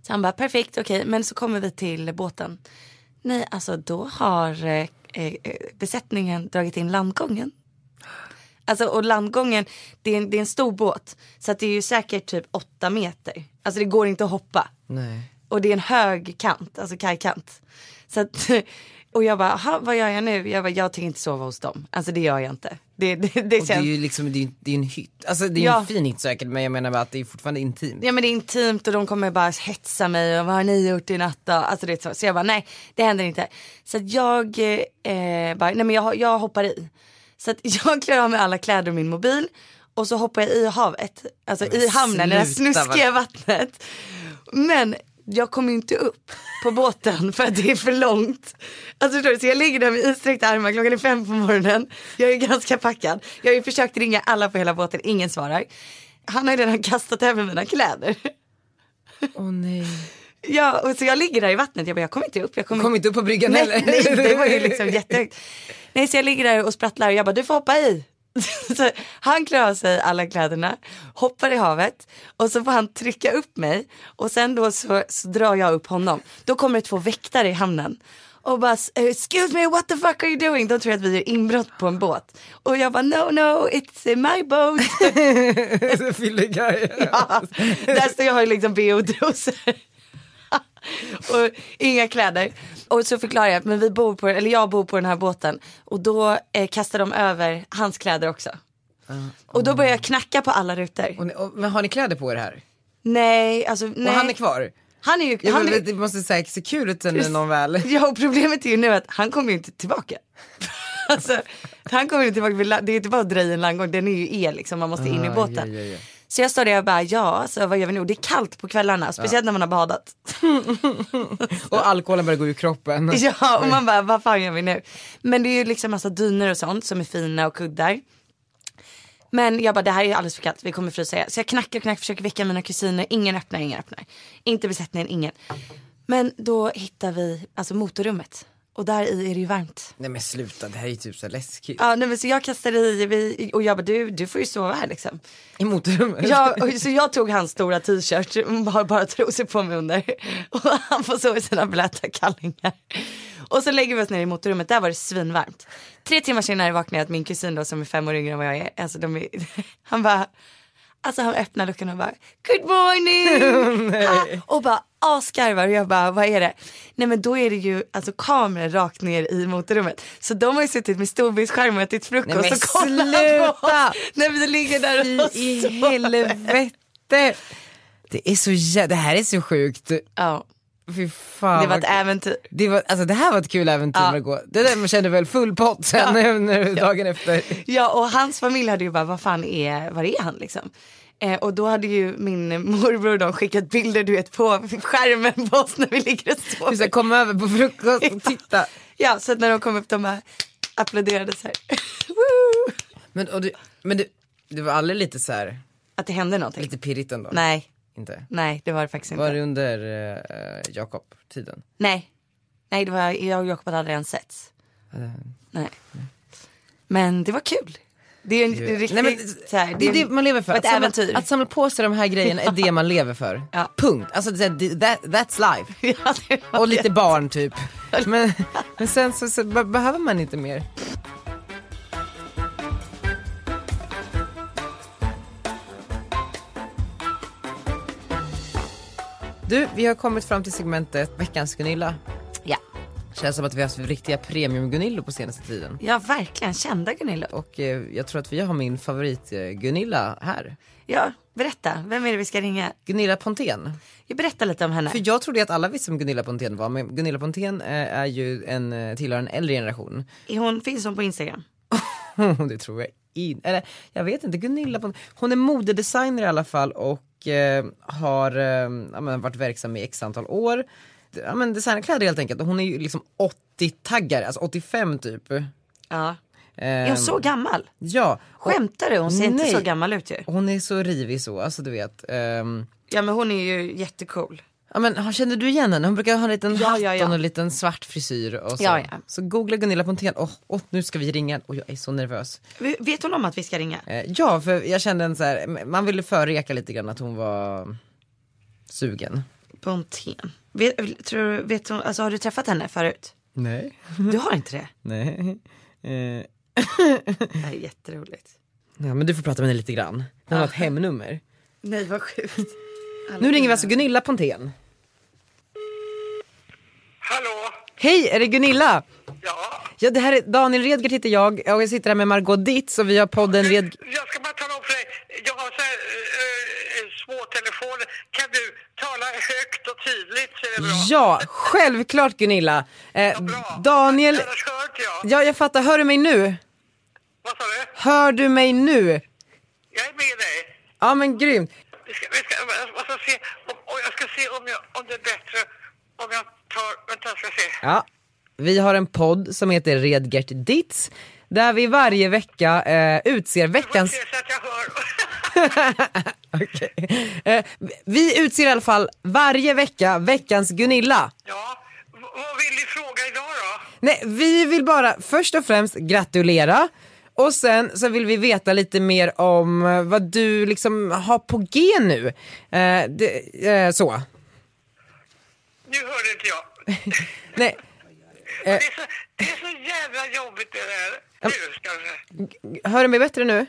Speaker 2: Så han bara, perfekt, okej, men så kommer vi till båten. Nej, alltså då har eh, eh, besättningen dragit in landgången. Alltså och landgången, det är, en, det är en stor båt. Så att det är ju säkert typ åtta meter. Alltså det går inte att hoppa.
Speaker 1: Nej.
Speaker 2: Och det är en hög kant, alltså kajkant. Så att, och jag bara, "Aha, vad gör jag nu? Jag bara, jag tänker inte sova hos dem. Alltså det gör jag inte. Det, det, det
Speaker 1: Och
Speaker 2: känns...
Speaker 1: det är ju liksom, det är, ju- det är en hytt. Alltså det är
Speaker 2: Ja.
Speaker 1: en fin hytt säkert men jag menar bara att det är fortfarande intimt.
Speaker 2: Ja men det är intimt och de kommer bara hetsa mig och vad har ni gjort i natt då? Alltså det är så. så jag bara nej det händer inte. Så att jag eh, bara, nej men jag, jag hoppar i. Så att jag klär av mig alla kläder och min mobil och så hoppar jag i havet. Alltså i hamnen, i det här
Speaker 1: sluta,
Speaker 2: snuskiga vattnet. Men jag kommer ju inte upp på båten för att det är för långt. Alltså förstår du, så jag ligger där med utsträckta armar, klockan är fem på morgonen. Jag är ganska packad. Jag har ju försökt ringa alla på hela båten, ingen svarar. Han har ju redan kastat över mina kläder.
Speaker 1: Åh nej.
Speaker 2: Ja, och så jag ligger där i vattnet. Jag bara, jag kommer inte upp. Jag kommer
Speaker 1: Kom inte upp på bryggan
Speaker 2: nej,
Speaker 1: heller.
Speaker 2: nej, det var ju liksom jättehögt. Nej, så jag ligger där och sprattlar och jag bara, du får hoppa i. Så han klär av sig alla kläderna, hoppar i havet och så får han trycka upp mig och sen då så, så drar jag upp honom. Då kommer det två väktare i hamnen och bara, "Eh, excuse me, what the fuck are you doing? De tror att vi gör inbrott på en båt. Och jag bara, no, no, it's eh, my boat.
Speaker 1: Fyller guy.
Speaker 2: Ja, där står jag i liksom bh-trosor. och inga kläder. Och så förklarar jag att men vi bor på, eller jag bor på den här båten och då eh, kastar de över hans kläder också.
Speaker 1: Ah.
Speaker 2: Och då börjar jag knacka på alla rutor.
Speaker 1: Och ni, och, men har ni kläder på er här?
Speaker 2: Nej, alltså nej.
Speaker 1: Och han är kvar?
Speaker 2: Han är ju,
Speaker 1: Jag
Speaker 2: han
Speaker 1: men,
Speaker 2: är,
Speaker 1: Det måste säkert se kul ut när någon väl.
Speaker 2: ja, och problemet är ju nu att han kommer ju inte tillbaka. alltså, han kommer ju inte tillbaka, vid la- det är inte bara att dra i en landgång, den är ju el liksom, man måste in i
Speaker 1: Ah,
Speaker 2: båten.
Speaker 1: ja, ja, ja.
Speaker 2: Så jag står där och bara, ja, alltså, vad gör vi nu? Det är kallt på kvällarna, speciellt när man har badat.
Speaker 1: Och alkoholen börjar gå ur kroppen.
Speaker 2: Ja, och man bara, vad fan gör vi nu? Men det är ju liksom massa dynor och sånt som är fina och kuddar. Men jag bara, det här är alldeles för kallt, vi kommer frysa ihjäl. Så jag knackar och knackar, försöker väcka mina kusiner, ingen öppnar, ingen öppnar. Inte besättningen, ingen. Men då hittar vi alltså motorrummet Och där i är det ju varmt.
Speaker 1: Nej men sluta, det här är ju typ så här läskigt.
Speaker 2: Ja, nej, men så jag kastade i vi, och jag bara du, du får ju sova här liksom.
Speaker 1: I motorrummet.
Speaker 2: Jag, och- så jag tog hans stora t-shirt och har bara trosor på mig under. Och han får sova i sina blöta kallingar. Och så lägger vi oss ner i motorrummet, där var det svinvarmt. Tre timmar senare vaknade jag att min kusin då som är fem år yngre än vad jag är, alltså de är, han bara, alltså han öppnar luckan och bara good morning. Ah, och bara asgarvar och jag bara vad är det? Nej men då är det ju alltså kameror rakt ner i motorrummet. Så de har ju suttit med storbildsskärm och ätit frukost
Speaker 1: Nej, men
Speaker 2: och kollat på
Speaker 1: sluta!
Speaker 2: oss när vi ligger där
Speaker 1: Fy
Speaker 2: och
Speaker 1: i
Speaker 2: sover.
Speaker 1: helvete. Det är så jä- det här är så sjukt.
Speaker 2: Ja,
Speaker 1: Fy fan.
Speaker 2: det var
Speaker 1: vad-
Speaker 2: ett äventyr.
Speaker 1: det, var, alltså, det här var ett kul äventyr
Speaker 2: Ja.
Speaker 1: att gå. Det där man kände väl full pott sen när- när, dagen efter.
Speaker 2: Ja och hans familj hade ju bara, vad fan är, var är han liksom? Eh, och då hade ju min morbror och de skickat bilder du vet på skärmen på oss när vi ligger och
Speaker 1: Du ska
Speaker 2: sover.
Speaker 1: komma över på frukost och titta.
Speaker 2: Ja så att när de kom upp de bara applåderade så här. Woo!
Speaker 1: Men, och du, men du, det var aldrig lite så här,
Speaker 2: Att det hände någonting.
Speaker 1: lite pirrigt ändå?
Speaker 2: Nej,
Speaker 1: Inte.
Speaker 2: nej det var det faktiskt inte.
Speaker 1: Var det under eh, Jakob-tiden?
Speaker 2: Nej, nej det var, jag och Jakob hade aldrig ens setts.
Speaker 1: Eh.
Speaker 2: Nej. Men det var kul. Det är ju en
Speaker 1: Nej,
Speaker 2: riktig,
Speaker 1: men,
Speaker 2: så här,
Speaker 1: det är det man lever för.
Speaker 2: Ett
Speaker 1: Att samla,
Speaker 2: äventyr.
Speaker 1: att samla på sig de här grejerna är det man lever för.
Speaker 2: Ja.
Speaker 1: Punkt. Alltså, det, det, that, that's life.
Speaker 2: Ja, det var
Speaker 1: Och
Speaker 2: det.
Speaker 1: lite barn typ. Men, men sen så, så be- behöver man inte mer. Du, vi har kommit fram till segmentet veckans Gunilla.
Speaker 2: Ja.
Speaker 1: Känns som att vi har haft riktiga premium-Gunillor på senaste tiden.
Speaker 2: ja verkligen, kända Gunilla.
Speaker 1: Och eh, jag tror att vi har min favorit-Gunilla här.
Speaker 2: Ja, berätta, vem är det vi ska ringa?
Speaker 1: Gunilla Pontén.
Speaker 2: Jag berättar lite om henne.
Speaker 1: För jag trodde att alla visste vem Gunilla Pontén var, men Gunilla Pontén eh, är ju en, eh, tillhör en äldre generation.
Speaker 2: Hon finns hon på Instagram.
Speaker 1: det tror jag inte. Eller jag vet inte, Gunilla på Hon är modedesigner i alla fall och eh, har eh, ja, men, varit verksam i x antal år. D- Ja, men designerkläder helt enkelt. Och Hon är ju liksom 80-taggare, alltså 85 typ.
Speaker 2: Ja. Är
Speaker 1: Ehm,
Speaker 2: hon så gammal?
Speaker 1: Ja. och-
Speaker 2: Skämtar du? Hon ser inte
Speaker 1: nej.
Speaker 2: så gammal ut ju.
Speaker 1: Hon är så rivig så, alltså du vet. Ehm,
Speaker 2: Ja men hon är ju jättecool.
Speaker 1: Ja men har- känner du igen henne? Hon brukar ha en liten
Speaker 2: Ja,
Speaker 1: hatt
Speaker 2: ja, ja.
Speaker 1: och en liten svart frisyr och så.
Speaker 2: Ja, ja.
Speaker 1: Så googla Gunilla Pontén, åh åh, nu ska vi ringa och jag är så nervös.
Speaker 2: V- Vet hon om att vi ska ringa?
Speaker 1: Eh, Ja, för jag kände en så här, man ville förreka lite grann att hon var sugen.
Speaker 2: Pontén. Vet, tror, du- vet hon, alltså, har du träffat henne förut?
Speaker 1: Nej.
Speaker 2: Du har inte det?
Speaker 1: Nej. Eh,
Speaker 2: Det här är jätteroligt.
Speaker 1: Ja, men du får prata med henne lite grann. Hon har ett hemnummer.
Speaker 2: Nej vad sjukt.
Speaker 1: Nu ringer vi alltså Gunilla Pontén.
Speaker 4: Hallå?
Speaker 1: Hej, är det Gunilla?
Speaker 4: Ja,
Speaker 1: Ja, det här är Daniel Redgert heter jag och jag sitter här med Margot Ditz och vi har podden Red...
Speaker 4: jag ska bara tala om för dig. Jag har så här, eh, eh, små telefoner. Kan du tala högt och tydligt så är det bra.
Speaker 1: Ja, självklart Gunilla. Eh,
Speaker 4: bra.
Speaker 1: Daniel...
Speaker 4: Annars hör inte jag.
Speaker 1: Ja, jag fattar. Hör du mig nu?
Speaker 4: Vad sa du?
Speaker 1: Hör du mig nu?
Speaker 4: Jag är med dig.
Speaker 1: Ja, men grymt.
Speaker 4: Vi ska, vi ska, jag, ska se, om, och jag ska se om, jag, om det är bättre om jag tar... Vänta, jag ska se.
Speaker 1: Ja, vi har en podd som heter Redgert Ditz där vi varje vecka eh, utser
Speaker 4: Jag
Speaker 1: veckans...
Speaker 4: ser så att jag hör.
Speaker 1: Okej. Eh, vi utser i alla fall varje vecka veckans Gunilla.
Speaker 4: Ja. V- Vad vill ni fråga idag då?
Speaker 1: Nej, vi vill bara först och främst gratulera och sen så vill vi veta lite mer om eh, vad du liksom har på G nu. Eh, det, eh, så.
Speaker 4: Nu hörde inte jag.
Speaker 1: Nej,
Speaker 4: Det är, så, det är så jävla jobbigt det där. Nu kanske.
Speaker 1: hör du mig bättre nu?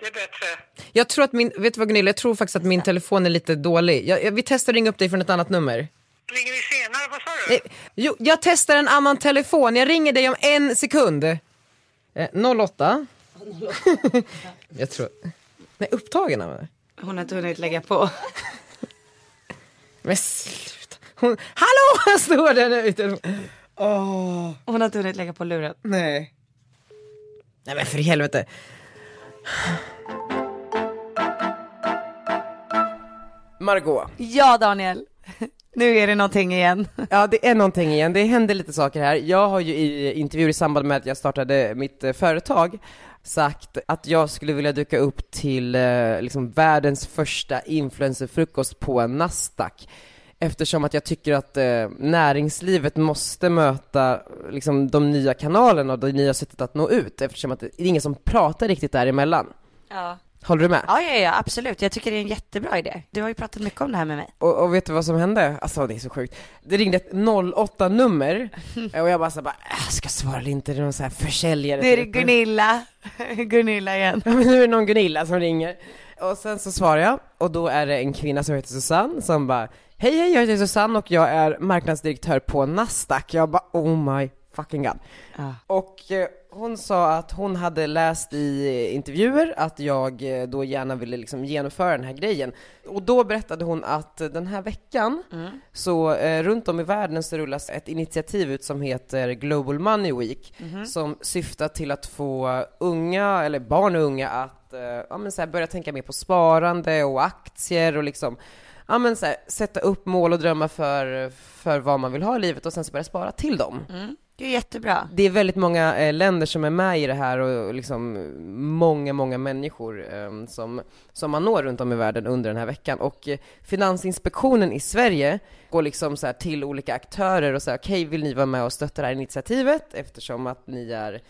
Speaker 4: Det är bättre.
Speaker 1: Jag tror att min, vet du vad Gunilla, jag tror faktiskt att min telefon är lite dålig. Jag, jag, vi testar att ringa upp dig från ett annat nummer.
Speaker 4: Ringer ni senare? Vad sa du?
Speaker 1: Eh, Jo, jag testar en annan telefon. Jag ringer dig om en sekund. Eh, 08. jag tror... Nej, upptagen av det.
Speaker 2: Hon har inte hunnit lägga på.
Speaker 1: Men sluta. Hon... Hallå! Står där nu. i telefonen.
Speaker 2: Hon har inte hunnit lägga på luren.
Speaker 1: Nej. Nej men för i helvete. Margot.
Speaker 2: Ja Daniel. Nu är det någonting igen.
Speaker 10: Ja, det är någonting igen. Det händer lite saker här. Jag har ju i intervjuer i samband med att jag startade mitt eh, företag sagt att jag skulle vilja dyka upp till eh, liksom världens första influencerfrukost på Nasdaq.
Speaker 1: eftersom att jag tycker att eh, näringslivet måste möta liksom, de nya kanalerna och det nya sättet att nå ut eftersom att det det är ingen som pratar riktigt däremellan.
Speaker 2: Ja.
Speaker 1: Håller du med?
Speaker 2: ja, ja, ja, absolut. Jag tycker det är en jättebra idé. Du har ju pratat mycket om det här med mig.
Speaker 1: Och, och vet du vad som hände? Alltså det är så sjukt. Det ringde ett 08-nummer och jag bara såhär, jag ska svara eller inte, det är någon så här försäljare.
Speaker 2: Nu är det Gunilla. Gunilla igen.
Speaker 1: Ja, men nu är det någon Gunilla som ringer. Och sen så svarar jag och då är det en kvinna som heter Susanne som bara Hej hej jag heter Susanne och jag är marknadsdirektör på Nasdaq. Jag bara oh my fucking god. Och eh, hon sa att hon hade läst i eh, intervjuer att jag eh, då gärna ville liksom genomföra den här grejen. Och då berättade hon att eh, den här veckan så eh, runt om i världen så rullas ett initiativ ut som heter Global Money Week som syftar till att få unga, eller barn och unga att eh, ja, men så här, börja tänka mer på sparande och aktier och liksom ja, men så här, sätta upp mål och drömmar för, för vad man vill ha i livet och sen så börja spara till dem.
Speaker 2: Det är jättebra.
Speaker 1: Det är väldigt många eh, länder som är med i det här och, och liksom eh, många, många människor eh, som, som man når runt om i världen under den här veckan. Och eh, Finansinspektionen i Sverige går liksom så här till olika aktörer och säger okej, vill ni vara med och stötta det här initiativet eftersom att ni är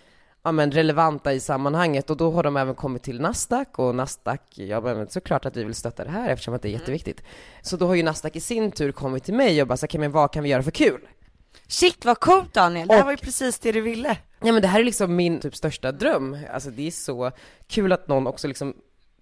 Speaker 1: ja, men relevanta i sammanhanget och då har de även kommit till Nasdaq och Nasdaq, ja men såklart att vi vill stötta det här eftersom att det är jätteviktigt. Så då har ju Nasdaq i sin tur kommit till mig och bara sagt, okej men vad kan vi göra för kul?
Speaker 2: Shit vad coolt Daniel, det här
Speaker 1: Och-
Speaker 2: var ju precis det du ville.
Speaker 1: Ja men det här är liksom min typ största dröm. Alltså det är så kul att någon också liksom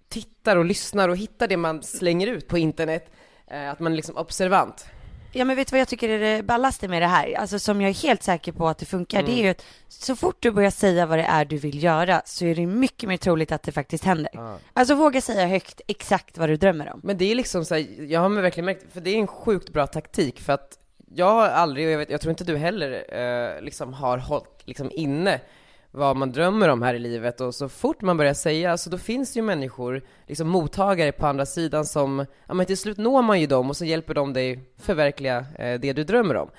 Speaker 1: tittar och lyssnar och hittar det man slänger ut på internet. Eh, att man är liksom observant.
Speaker 2: Ja men vet du vad jag tycker är det ballaste med det här? Alltså som jag är helt säker på att det funkar, det är ju att så fort du börjar säga vad det är du vill göra så är det mycket mer troligt att det faktiskt händer. Alltså våga säga högt exakt vad du drömmer om.
Speaker 1: Men det är liksom så här, jag har verkligen märkt, för det är en sjukt bra taktik för att jag har aldrig, och jag, vet, jag tror inte du heller, eh, liksom har hållit liksom inne vad man drömmer om här i livet och så fort man börjar säga, så då finns det ju människor, liksom mottagare på andra sidan som, ja men till slut når man ju dem och så hjälper de dig förverkliga eh, det du drömmer om.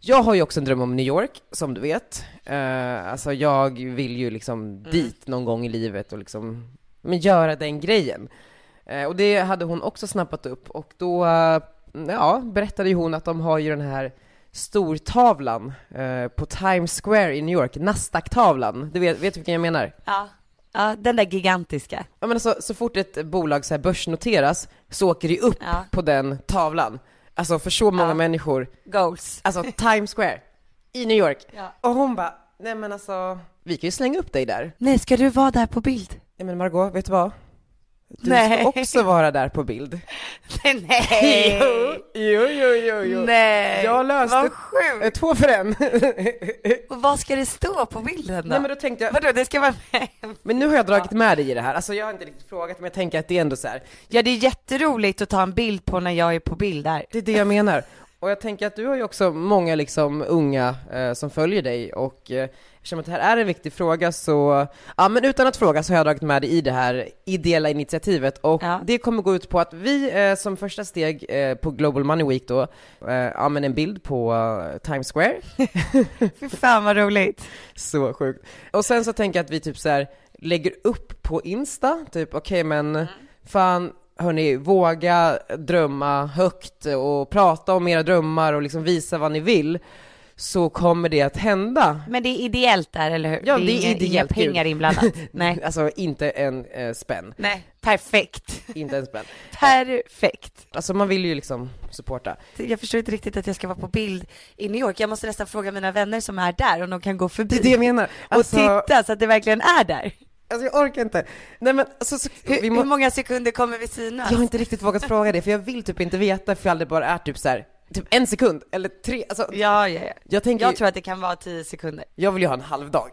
Speaker 1: Jag har ju också en dröm om New York, som du vet. Eh, alltså jag vill ju liksom dit någon gång i livet och liksom, men göra den grejen. Eh, och det hade hon också snappat upp och då, eh, ja, berättade ju hon att de har ju den här stortavlan eh, på Times Square i New York, Nasdaq-tavlan. Du vet, vet du vilken jag menar?
Speaker 2: Ja. Ja, den där gigantiska.
Speaker 1: Ja, men alltså, så fort ett bolag så här börsnoteras så åker det upp
Speaker 2: Ja.
Speaker 1: på den tavlan. Alltså för så många
Speaker 2: Ja.
Speaker 1: människor
Speaker 2: Goals.
Speaker 1: alltså Times Square i New York.
Speaker 2: Ja.
Speaker 1: Och hon bara, nej men alltså, vi kan ju slänga upp dig där.
Speaker 2: Nej, ska du vara där på bild?
Speaker 1: Nej men Margot, vet du vad? Du
Speaker 2: Nej.
Speaker 1: ska också vara där på bild.
Speaker 2: Nej!
Speaker 1: jo, jo, jo, jo.
Speaker 2: Nej!
Speaker 1: Jag löste
Speaker 2: Vad sjukt!
Speaker 1: Eh, Två för en.
Speaker 2: Och vad ska det stå på bilden då?
Speaker 1: nej men då tänkte jag,
Speaker 2: Vadå, det ska vara med?
Speaker 1: men nu har jag dragit med dig i det här. Alltså jag har inte riktigt frågat men jag tänker att det är ändå så här.
Speaker 2: Ja, det är jätteroligt att ta en bild på när jag är på bild där.
Speaker 1: Det är det jag menar. Och jag tänker att du har ju också många liksom unga eh, som följer dig och eh, eftersom att det här är en viktig fråga så, ja men utan att fråga så har jag dragit med dig i det här ideella initiativet och
Speaker 2: Ja.
Speaker 1: det kommer gå ut på att vi eh, som första steg eh, på Global Money Week då, eh, ja men en bild på eh, Times Square,
Speaker 2: Fy fan vad roligt.
Speaker 1: så sjukt. Och sen så tänker jag att vi typ så här lägger upp på Insta, typ okej men fan hörni, våga drömma högt och prata om era drömmar och liksom visa vad ni vill så kommer det att hända.
Speaker 2: Men det är ideellt där, eller hur?
Speaker 1: Ja, det är
Speaker 2: inga, inga
Speaker 1: ideellt,
Speaker 2: pengar
Speaker 1: gud.
Speaker 2: inblandat. Nej.
Speaker 1: Alltså inte en eh, spänn,
Speaker 2: Nej. Perfekt.
Speaker 1: inte en spänn.
Speaker 2: Perfekt.
Speaker 1: Alltså man vill ju liksom supporta.
Speaker 2: Jag förstår inte riktigt att jag ska vara på bild i New York. Jag måste nästan fråga mina vänner som är där om de kan gå förbi
Speaker 1: Det är det jag menar. Alltså,
Speaker 2: och titta så att det verkligen är där.
Speaker 1: alltså jag orkar inte. Nej men alltså, så,
Speaker 2: Hur,
Speaker 1: vi må-
Speaker 2: hur många sekunder kommer vi synas?
Speaker 1: Jag har inte riktigt vågat fråga det för jag vill typ inte veta ifall det bara är typ så här, typ en sekund eller tre, alltså
Speaker 2: Ja, ja, ja.
Speaker 1: jag tänker ju-
Speaker 2: Jag tror att det kan vara tio sekunder.
Speaker 1: Jag vill ju ha en halv dag.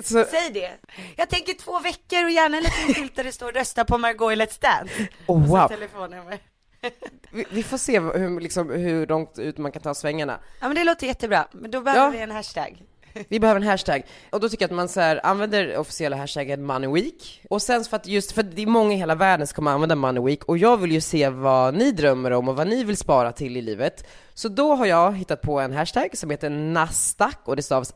Speaker 1: Så,
Speaker 2: Säg det. Jag tänker två veckor och gärna en liten skylt där det står rösta på Margot i Let's Dance.
Speaker 1: oh, wow.
Speaker 2: Telefonnummer.
Speaker 1: Vi, vi får se hur, liksom, hur långt ut man kan ta svängarna.
Speaker 2: Ja men det låter jättebra, men då behöver
Speaker 1: Ja.
Speaker 2: vi en hashtag.
Speaker 1: Vi behöver en hashtag. Och då tycker jag att man så här, använder officiella hashtaggen Money Week. Och sen för att just, för att det är många i hela världen som kommer använda Money Week och jag vill ju se vad ni drömmer om och vad ni vill spara till i livet. Så då har jag hittat på en hashtag som heter Nasdaq och det stavas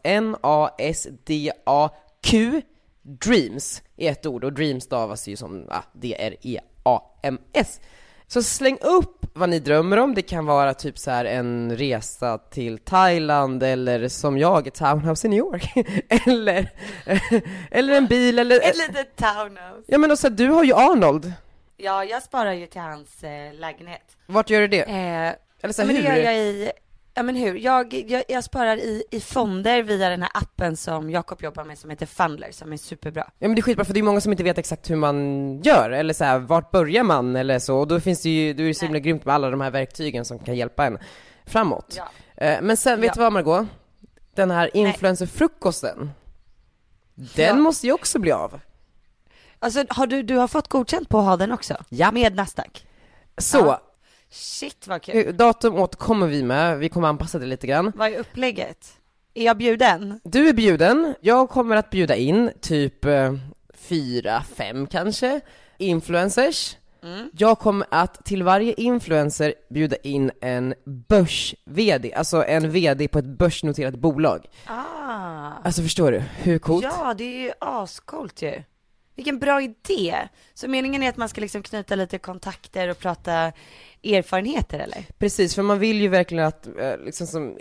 Speaker 1: N-A-S-D-A-Q E Dreams i ett ord och dreams stavas ju som ah, D-R-E-A-M-S. Så släng upp vad ni drömmer om, det kan vara typ så här en resa till Thailand eller som jag, ett townhouse i New York. eller, eller en bil eller...
Speaker 2: Ett litet townhouse.
Speaker 1: Ja men och så här, du har ju Arnold.
Speaker 2: Ja, jag sparar ju till hans eh, lägenhet.
Speaker 1: Vart gör du det?
Speaker 2: Eh,
Speaker 1: Eller så här,
Speaker 2: ja, men det
Speaker 1: hur?
Speaker 2: gör jag i, ja men hur, jag, jag, jag sparar i, i fonder via den här appen som Jakob jobbar med som heter Fundler som är superbra.
Speaker 1: Ja men det är skitbra för det är många som inte vet exakt hur man gör eller så här, vart börjar man eller så och då finns det ju, då är det så himla grymt med alla de här verktygen som kan hjälpa en framåt.
Speaker 2: Ja.
Speaker 1: Eh, Men sen, vet
Speaker 2: Ja.
Speaker 1: du vad Margot? Den här influencerfrukosten, den
Speaker 2: Ja.
Speaker 1: måste ju också bli av.
Speaker 2: Alltså har du, du har fått godkänt på att ha den också?
Speaker 1: Ja.
Speaker 2: Med Nasdaq?
Speaker 1: Så,
Speaker 2: Shit vad kul.
Speaker 1: eh, datum återkommer vi med, vi kommer anpassa det lite grann.
Speaker 2: Vad är upplägget? Är jag bjuden?
Speaker 1: Du är bjuden, jag kommer att bjuda in typ eh, fyra, fem kanske, influencers. Jag kommer att till varje influencer bjuda in en börs-VD, alltså en VD på ett börsnoterat bolag.
Speaker 2: Ah.
Speaker 1: Alltså förstår du, hur coolt?
Speaker 2: Ja, det är ju ascoolt ju. Vilken bra idé. Så meningen är att man ska liksom knyta lite kontakter och prata erfarenheter eller?
Speaker 1: Precis, för man vill ju verkligen att eh, liksom som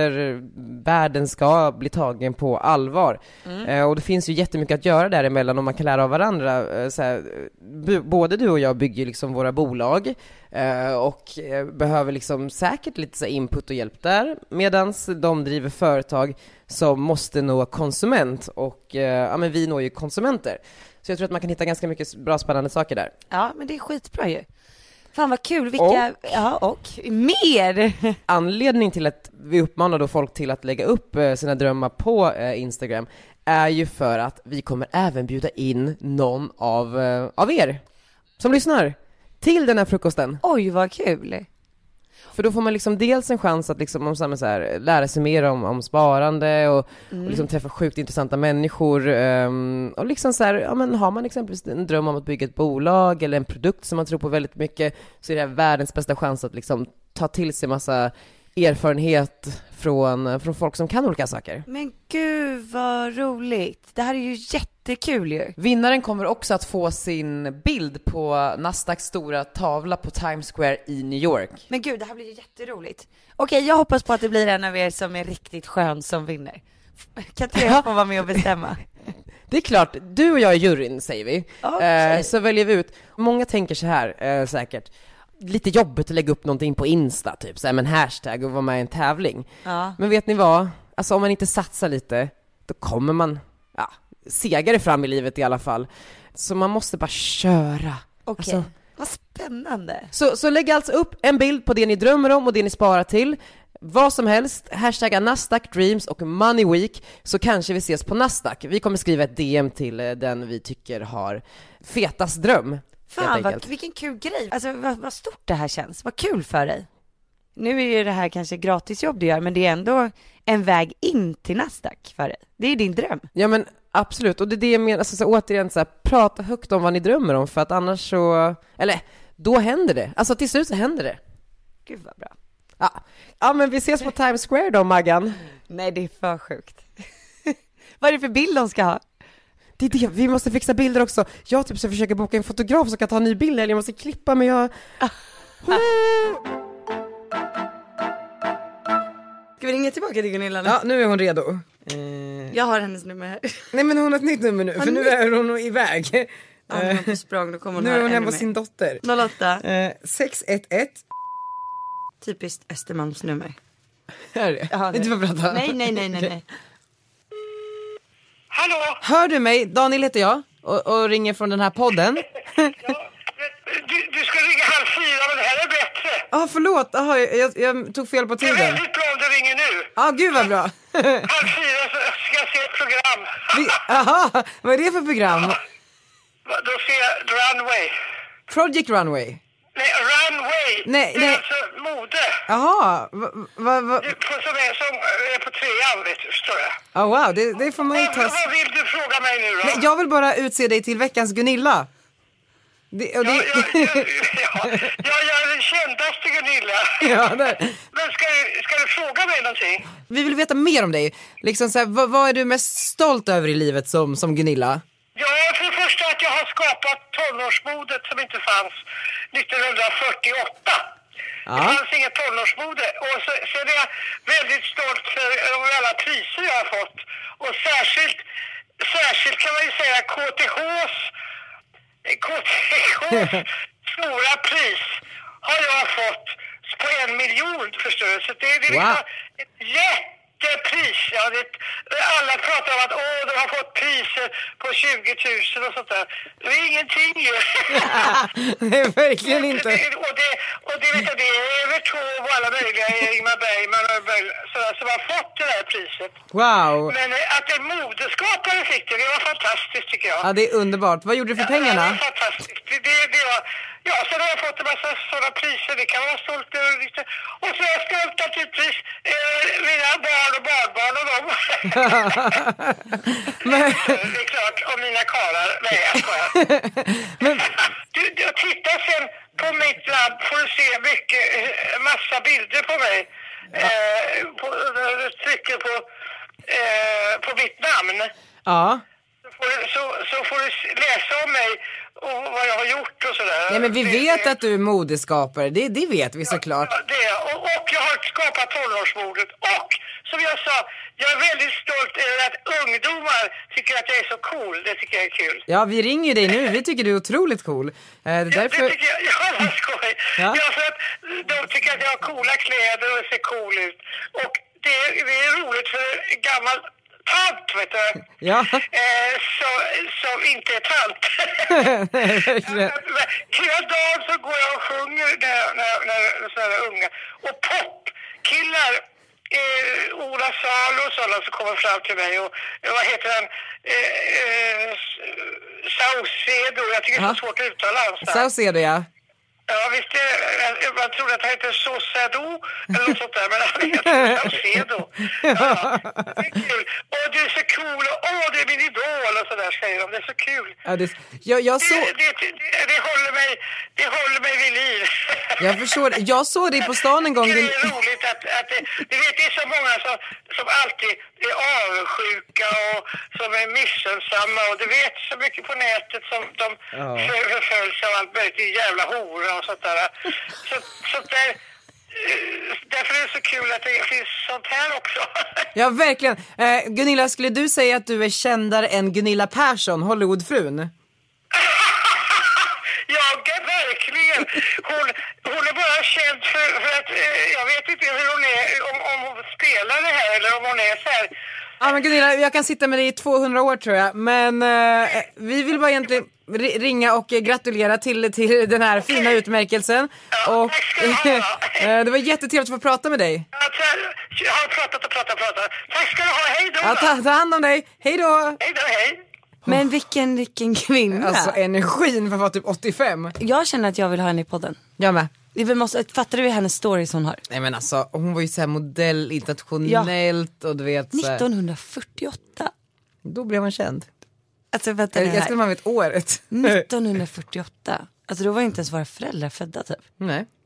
Speaker 1: influencervärlden ska bli tagen på allvar. Eh, och det finns ju jättemycket att göra däremellan och man kan lära av varandra. Eh, så här, bu- både du och jag bygger ju liksom våra bolag eh, och eh, behöver liksom säkert lite så här input och hjälp där. Medan de driver företag som måste nå konsument och eh, ja, men vi når ju konsumenter. Så jag tror att man kan hitta ganska mycket bra spännande saker där.
Speaker 2: Ja, men det är skitbra ju. Fan vad kul, vilka, ja och mer!
Speaker 1: anledning till att vi uppmanar då folk till att lägga upp eh, sina drömmar på eh, Instagram är ju för att vi kommer även bjuda in någon av, eh, av er som lyssnar till den här frukosten.
Speaker 2: Oj vad kul!
Speaker 1: För då får man liksom dels en chans att liksom, om så här, så här, lära sig mer om, om sparande och, och liksom träffa sjukt intressanta människor. ehm, och liksom så här, ja, men har man exempelvis en dröm om att bygga ett bolag eller en produkt som man tror på väldigt mycket så är det här världens bästa chans att liksom ta till sig massa erfarenhet från, från folk som kan olika saker.
Speaker 2: Men gud vad roligt, det här är ju jättekul ju.
Speaker 1: Vinnaren kommer också att få sin bild på Nasdaqs stora tavla på Times Square i New York.
Speaker 2: Men gud, det här blir ju jätteroligt. Okej, jag hoppas på att det blir en av er som är riktigt skön som vinner. Kan inte jag få vara med och bestämma?
Speaker 1: Det är klart, du och jag är juryn säger vi.
Speaker 2: Okej.
Speaker 1: Eh, så väljer vi ut. Många tänker så här eh, säkert, lite jobbigt att lägga upp någonting på Insta typ, så här, med en hashtag och vara med i en tävling.
Speaker 2: Ja.
Speaker 1: Men vet ni vad? Alltså om man inte satsar lite, då kommer man ja, segare fram i livet i alla fall. Så man måste bara köra.
Speaker 2: Okej,
Speaker 1: Alltså-
Speaker 2: vad spännande.
Speaker 1: Så, så lägg alltså upp en bild på det ni drömmer om och det ni sparar till. Vad som helst, hashtagga Nasdaq Dreams och Money Week så kanske vi ses på Nasdaq. Vi kommer skriva ett DM till eh, den vi tycker har fetast dröm.
Speaker 2: Fan,
Speaker 1: helt
Speaker 2: vad,
Speaker 1: enkelt.
Speaker 2: vilken kul grej. Alltså vad, vad stort det här känns. Vad kul för dig. Nu är ju det här kanske gratisjobb du gör, men det är ändå en väg in till Nasdaq för dig. Det är ju din dröm.
Speaker 1: Ja men absolut, och det är det jag menar, alltså, så återigen så här, prata högt om vad ni drömmer om för att annars så, eller då händer det. Alltså till slut så händer det.
Speaker 2: Gud vad bra.
Speaker 1: Ja, ja men vi ses på Times Square då Maggan.
Speaker 2: Nej, det är för sjukt. vad är det för bild de ska ha?
Speaker 1: Det är det, vi måste fixa bilder också. Jag typ så försöker boka en fotograf som kan ta en ny bild, eller jag måste klippa men jag...
Speaker 2: Ska vi ringa tillbaka till Gunilla nu?
Speaker 11: Ja, nu är hon redo.
Speaker 2: Jag har hennes nummer här.
Speaker 11: Nej men hon har ett nytt nummer nu, för nu är hon iväg.
Speaker 2: Ja, hon var på språng, då kommer hon
Speaker 11: Nu
Speaker 2: höra
Speaker 11: är hon
Speaker 2: ännu
Speaker 11: hemma hos
Speaker 2: mer.
Speaker 11: sin dotter.
Speaker 2: 08,
Speaker 11: Eh, 611.
Speaker 2: typiskt Östermalmsnummer.
Speaker 11: Är det?
Speaker 2: Ja, det-
Speaker 11: Inte för att prata.
Speaker 2: Nej, nej, nej, nej, nej.
Speaker 9: Hallå!
Speaker 11: Hör du mig? Daniel heter jag och, och ringer från den här podden.
Speaker 9: Du, du ska ringa halv fyra, men det här är bättre.
Speaker 11: Ja, ah, förlåt. Aha, jag, jag, jag tog fel på tiden. Ja,
Speaker 9: bra om du ringer nu.
Speaker 11: ah, gud vad bra.
Speaker 9: Halv fyra så ska jag se ett program.
Speaker 11: Vi, aha, vad är det för program?
Speaker 9: Då ser jag Runway.
Speaker 11: Project Runway.
Speaker 9: Nej, Runway.
Speaker 11: Nej,
Speaker 9: det är
Speaker 11: nej.
Speaker 9: alltså mode.
Speaker 11: Jaha, va, va, va,
Speaker 9: Du får som är, som eh, är på trean, vet du, förstår jag.
Speaker 11: ah, wow, det, det får man ju ta.
Speaker 9: Vad, vad vill du fråga mig nu då?
Speaker 11: Nej, jag vill bara utse dig till veckans Gunilla. Det, och
Speaker 9: Ja,
Speaker 11: det,
Speaker 9: ja, ja, ja, ja, jag är den kändaste Gunilla.
Speaker 11: ja, där.
Speaker 9: Men ska, du- ska du fråga mig någonting?
Speaker 11: Vi vill veta mer om dig. Liksom så här, vad, vad är du mest stolt över i livet som, som Gunilla?
Speaker 9: Ja, för det första att jag har skapat tonårsmodet som inte fanns 1948. Det
Speaker 1: Ja.
Speaker 9: fanns inget tonårsmode. Och så, så är jag väldigt stolt för över alla priser jag har fått. Och särskilt, särskilt kan man ju säga KTHs, KTHs stora pris har jag fått på en miljon förstår du. Så det, det är liksom
Speaker 1: Wow.
Speaker 9: ett jättepris. Ja, det, alla pratar om att åh, de har fått priser på 20 000 och sånt där. Det är ingenting ju.
Speaker 1: Nej, verkligen inte.
Speaker 9: Det- och det, och det, vet jag, det är över två och alla möjliga, Ingmar Bergman och Bell- sådär, som har fått det där priset.
Speaker 1: Wow.
Speaker 9: Men eh, att en modeskapare fick det, det var fantastiskt tycker jag.
Speaker 1: Ja, det är underbart. Vad gjorde du för
Speaker 9: Ja,
Speaker 1: pengarna?
Speaker 9: det är fantastiskt. Det, det, det var, ja, sen har jag fått en massa sådana priser. Det kan man vara stolt över. lite. Och så är jag stolt naturligtvis eh, mina barn och barnbarn och dem.
Speaker 1: Men,
Speaker 9: det är klart, och mina karlar. Nej, jag skojar.
Speaker 1: men,
Speaker 9: Du, du, titta sen på mitt labb får du se mycket, eh, massa bilder på mig. Eh, på, när du trycker på, eh, på mitt namn.
Speaker 1: ja.
Speaker 9: Så får, du, så, så får du s- läsa om mig och vad jag har gjort och sådär.
Speaker 1: Nej, men vi
Speaker 9: Det-
Speaker 1: vet
Speaker 9: det-
Speaker 1: att du är modeskapare. Det, det vet vi såklart.
Speaker 9: Ja, det är jag. och, och jag har skapat tonårsmordet. Och som jag sa, jag är väldigt stolt över att ungdomar tycker att jag är så cool. Det tycker jag är kul.
Speaker 1: Ja, vi ringer ju dig nu. Vi tycker du är otroligt cool. Eh, det är
Speaker 9: Det
Speaker 1: därför...
Speaker 9: tycker jag, ja, vad skoj.
Speaker 1: Ja.
Speaker 9: Ja. för att de tycker att jag har coola kläder och ser cool ut. Och det, är- det är roligt för en gammal tant, vet du.
Speaker 1: Ja.
Speaker 9: Eh, så, som inte är tant.
Speaker 1: Verkligen.
Speaker 9: Men Hela dagen så går jag och sjunger när, när, när, när sådana där unga. Och popkillar, eh, Ola Salo och sådana som kommer fram till mig och eh, vad heter han? Eh, eh, S- Saucedo, jag tycker det är så
Speaker 1: Ja.
Speaker 9: svårt att uttala hans
Speaker 1: Så
Speaker 9: namn.
Speaker 1: ser du ja.
Speaker 9: Ja visst, det, man trodde att han hette Sosedo eller något sånt där, men han heter Saucedo. Ja, det är kul. Åh, du är så cool och åh, du är min idol och sådär säger de. Det är så kul.
Speaker 1: ja det... jag, jag
Speaker 9: Det,
Speaker 1: såg...
Speaker 9: det, det, det, håller mig, det håller mig vid liv.
Speaker 1: Jag förstår. Jag såg dig på stan en gång.
Speaker 9: Det
Speaker 1: Din...
Speaker 9: är roligt att, att det, du vet, det är så många som, som alltid är avundsjuka och som är missunnsamma och du vet så mycket på nätet som de
Speaker 1: Ja.
Speaker 9: för- förföljs av allt möjligt, det är jävla hora och sånt där. Så, sånt där eh, därför är det så kul att det finns sånt här också.
Speaker 1: Ja, verkligen. Eh, Gunilla, skulle du säga att du är kändare än Gunilla Persson, Hollywoodfrun?
Speaker 9: Ja, g- verkligen. Hon, hon är bara känd för, för att, eh, jag vet inte hur hon är, om, om hon spelar det här eller om hon är så här
Speaker 1: Ja, men Gunilla, jag kan sitta med dig i 200 år tror jag. Men eh, vi vill bara egentligen ri- ringa och eh, gratulera till, till den här fina utmärkelsen.
Speaker 9: Ja,
Speaker 1: och,
Speaker 9: tack ska du ha.
Speaker 1: eh, det var jättetrevligt att få prata med dig.
Speaker 9: Ja, så- Alltså, Jag har pratat och pratat och pratat. Tack ska du ha. Hej då.
Speaker 1: Ja, ta, ta hand om dig. Hej då!
Speaker 9: Hej då, hej.
Speaker 2: Men vilken, vilken kvinna.
Speaker 1: Alltså energin för att vara typ 85.
Speaker 2: Jag känner att jag vill ha henne i podden.
Speaker 1: Jag med.
Speaker 2: Vi måste, fattar du hennes stories hon har?
Speaker 1: Nej men alltså hon var ju såhär modell internationellt och du vet så här,
Speaker 2: 1948.
Speaker 1: Då blev hon känd.
Speaker 2: Alltså vänta
Speaker 1: Jag
Speaker 2: nu
Speaker 1: jag
Speaker 2: här.
Speaker 1: skulle man vet året.
Speaker 2: 1948. Alltså då var ju inte ens våra föräldrar födda typ.
Speaker 1: Nej.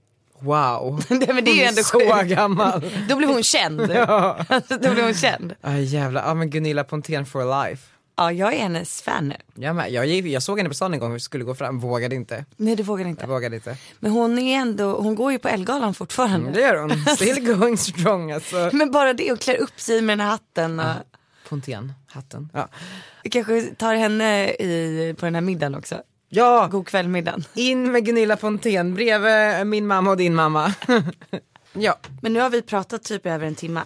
Speaker 1: Wow.
Speaker 2: Nej, men det är ju
Speaker 1: Hon
Speaker 2: ändå
Speaker 1: så
Speaker 2: sjukt.
Speaker 1: gammal.
Speaker 2: Då blev hon känd.
Speaker 1: Ja.
Speaker 2: Alltså, då blev hon känd.
Speaker 1: Aj jävlar, ja men Gunilla Pontén for life.
Speaker 2: Ja, jag är hennes fan nu.
Speaker 1: Jag, med. Jag, gick- jag såg henne på stan en gång och skulle gå fram, vågade inte.
Speaker 2: Nej, det vågar jag inte.
Speaker 1: Jag vågade inte.
Speaker 2: Men hon är ändå, hon går ju på Ellegalan fortfarande.
Speaker 1: Det gör hon, still going strong alltså.
Speaker 2: Men bara det och klär upp sig med den här hatten. Och
Speaker 1: Pontén, hatten. Ja,
Speaker 2: Vi kanske tar henne i, på den här middagen också.
Speaker 1: ja
Speaker 2: God kväll-middagen.
Speaker 1: in med Gunilla Pontén bredvid min mamma och din mamma. ja,
Speaker 2: Men nu har vi pratat typ över en timme.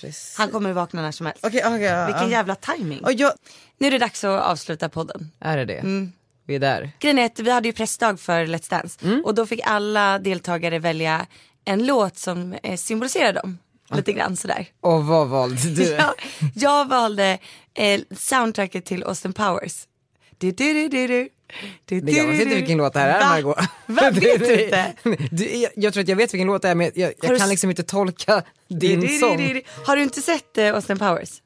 Speaker 1: precis.
Speaker 2: Han kommer vakna när som helst.
Speaker 1: Okej, okej. ja,
Speaker 2: Vilken
Speaker 1: ja.
Speaker 2: jävla timing.
Speaker 1: Och jag... Mm.
Speaker 2: Nu är det dags att avsluta podden.
Speaker 1: Är det det? Vi är där.
Speaker 2: Grejen är att vi hade ju pressdag för Let's Dance och då fick alla deltagare välja en låt som eh, symboliserar dem. Lite grann sådär.
Speaker 1: Och vad valde du?
Speaker 2: Ja, jag valde eh, soundtracket till Austin Powers. Du, du, du, du, du. Du,
Speaker 1: Det är gammalt, vet du vilken låt det här är
Speaker 2: Va?
Speaker 1: Margot?
Speaker 2: Va,
Speaker 1: Det-
Speaker 2: vet
Speaker 1: det-
Speaker 2: du inte?
Speaker 1: Du, jag, jag tror att jag vet vilken låt det är men jag,
Speaker 2: Har
Speaker 1: jag
Speaker 2: du
Speaker 1: kan
Speaker 2: s-
Speaker 1: liksom inte tolka din
Speaker 2: Du, du, du,
Speaker 1: sång.
Speaker 2: du, du. Har du inte sett eh, Austin Powers?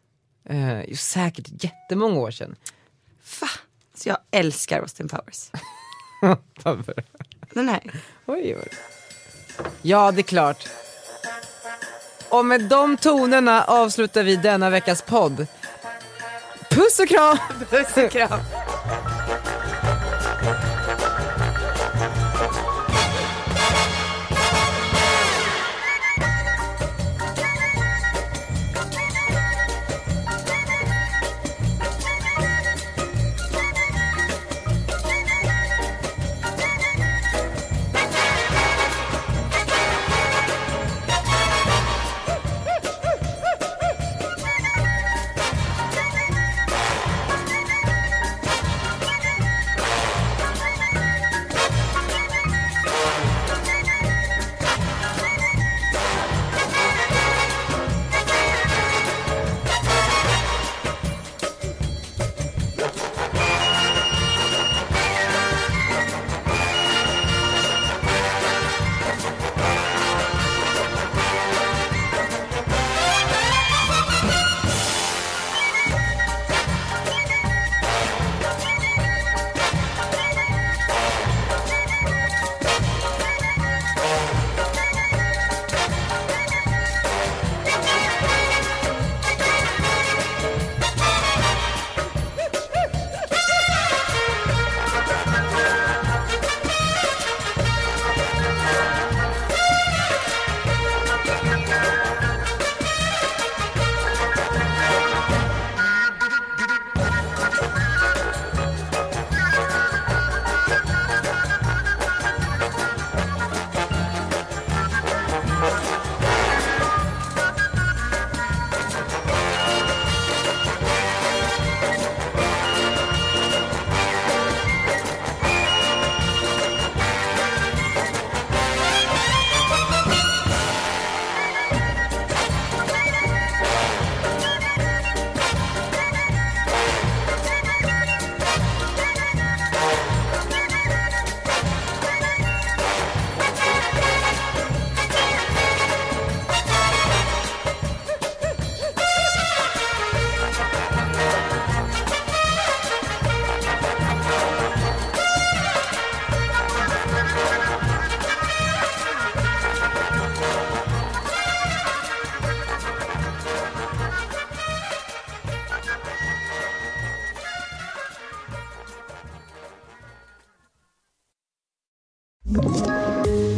Speaker 1: Eh, ju säkert jättemånga år sedan.
Speaker 2: Va? Så jag älskar Austin Powers.
Speaker 1: Oj,
Speaker 2: Den här.
Speaker 1: oj. Ja, det är klart. Och med de tonerna avslutar vi denna veckas podd. Puss och kram!
Speaker 12: Puss och kram.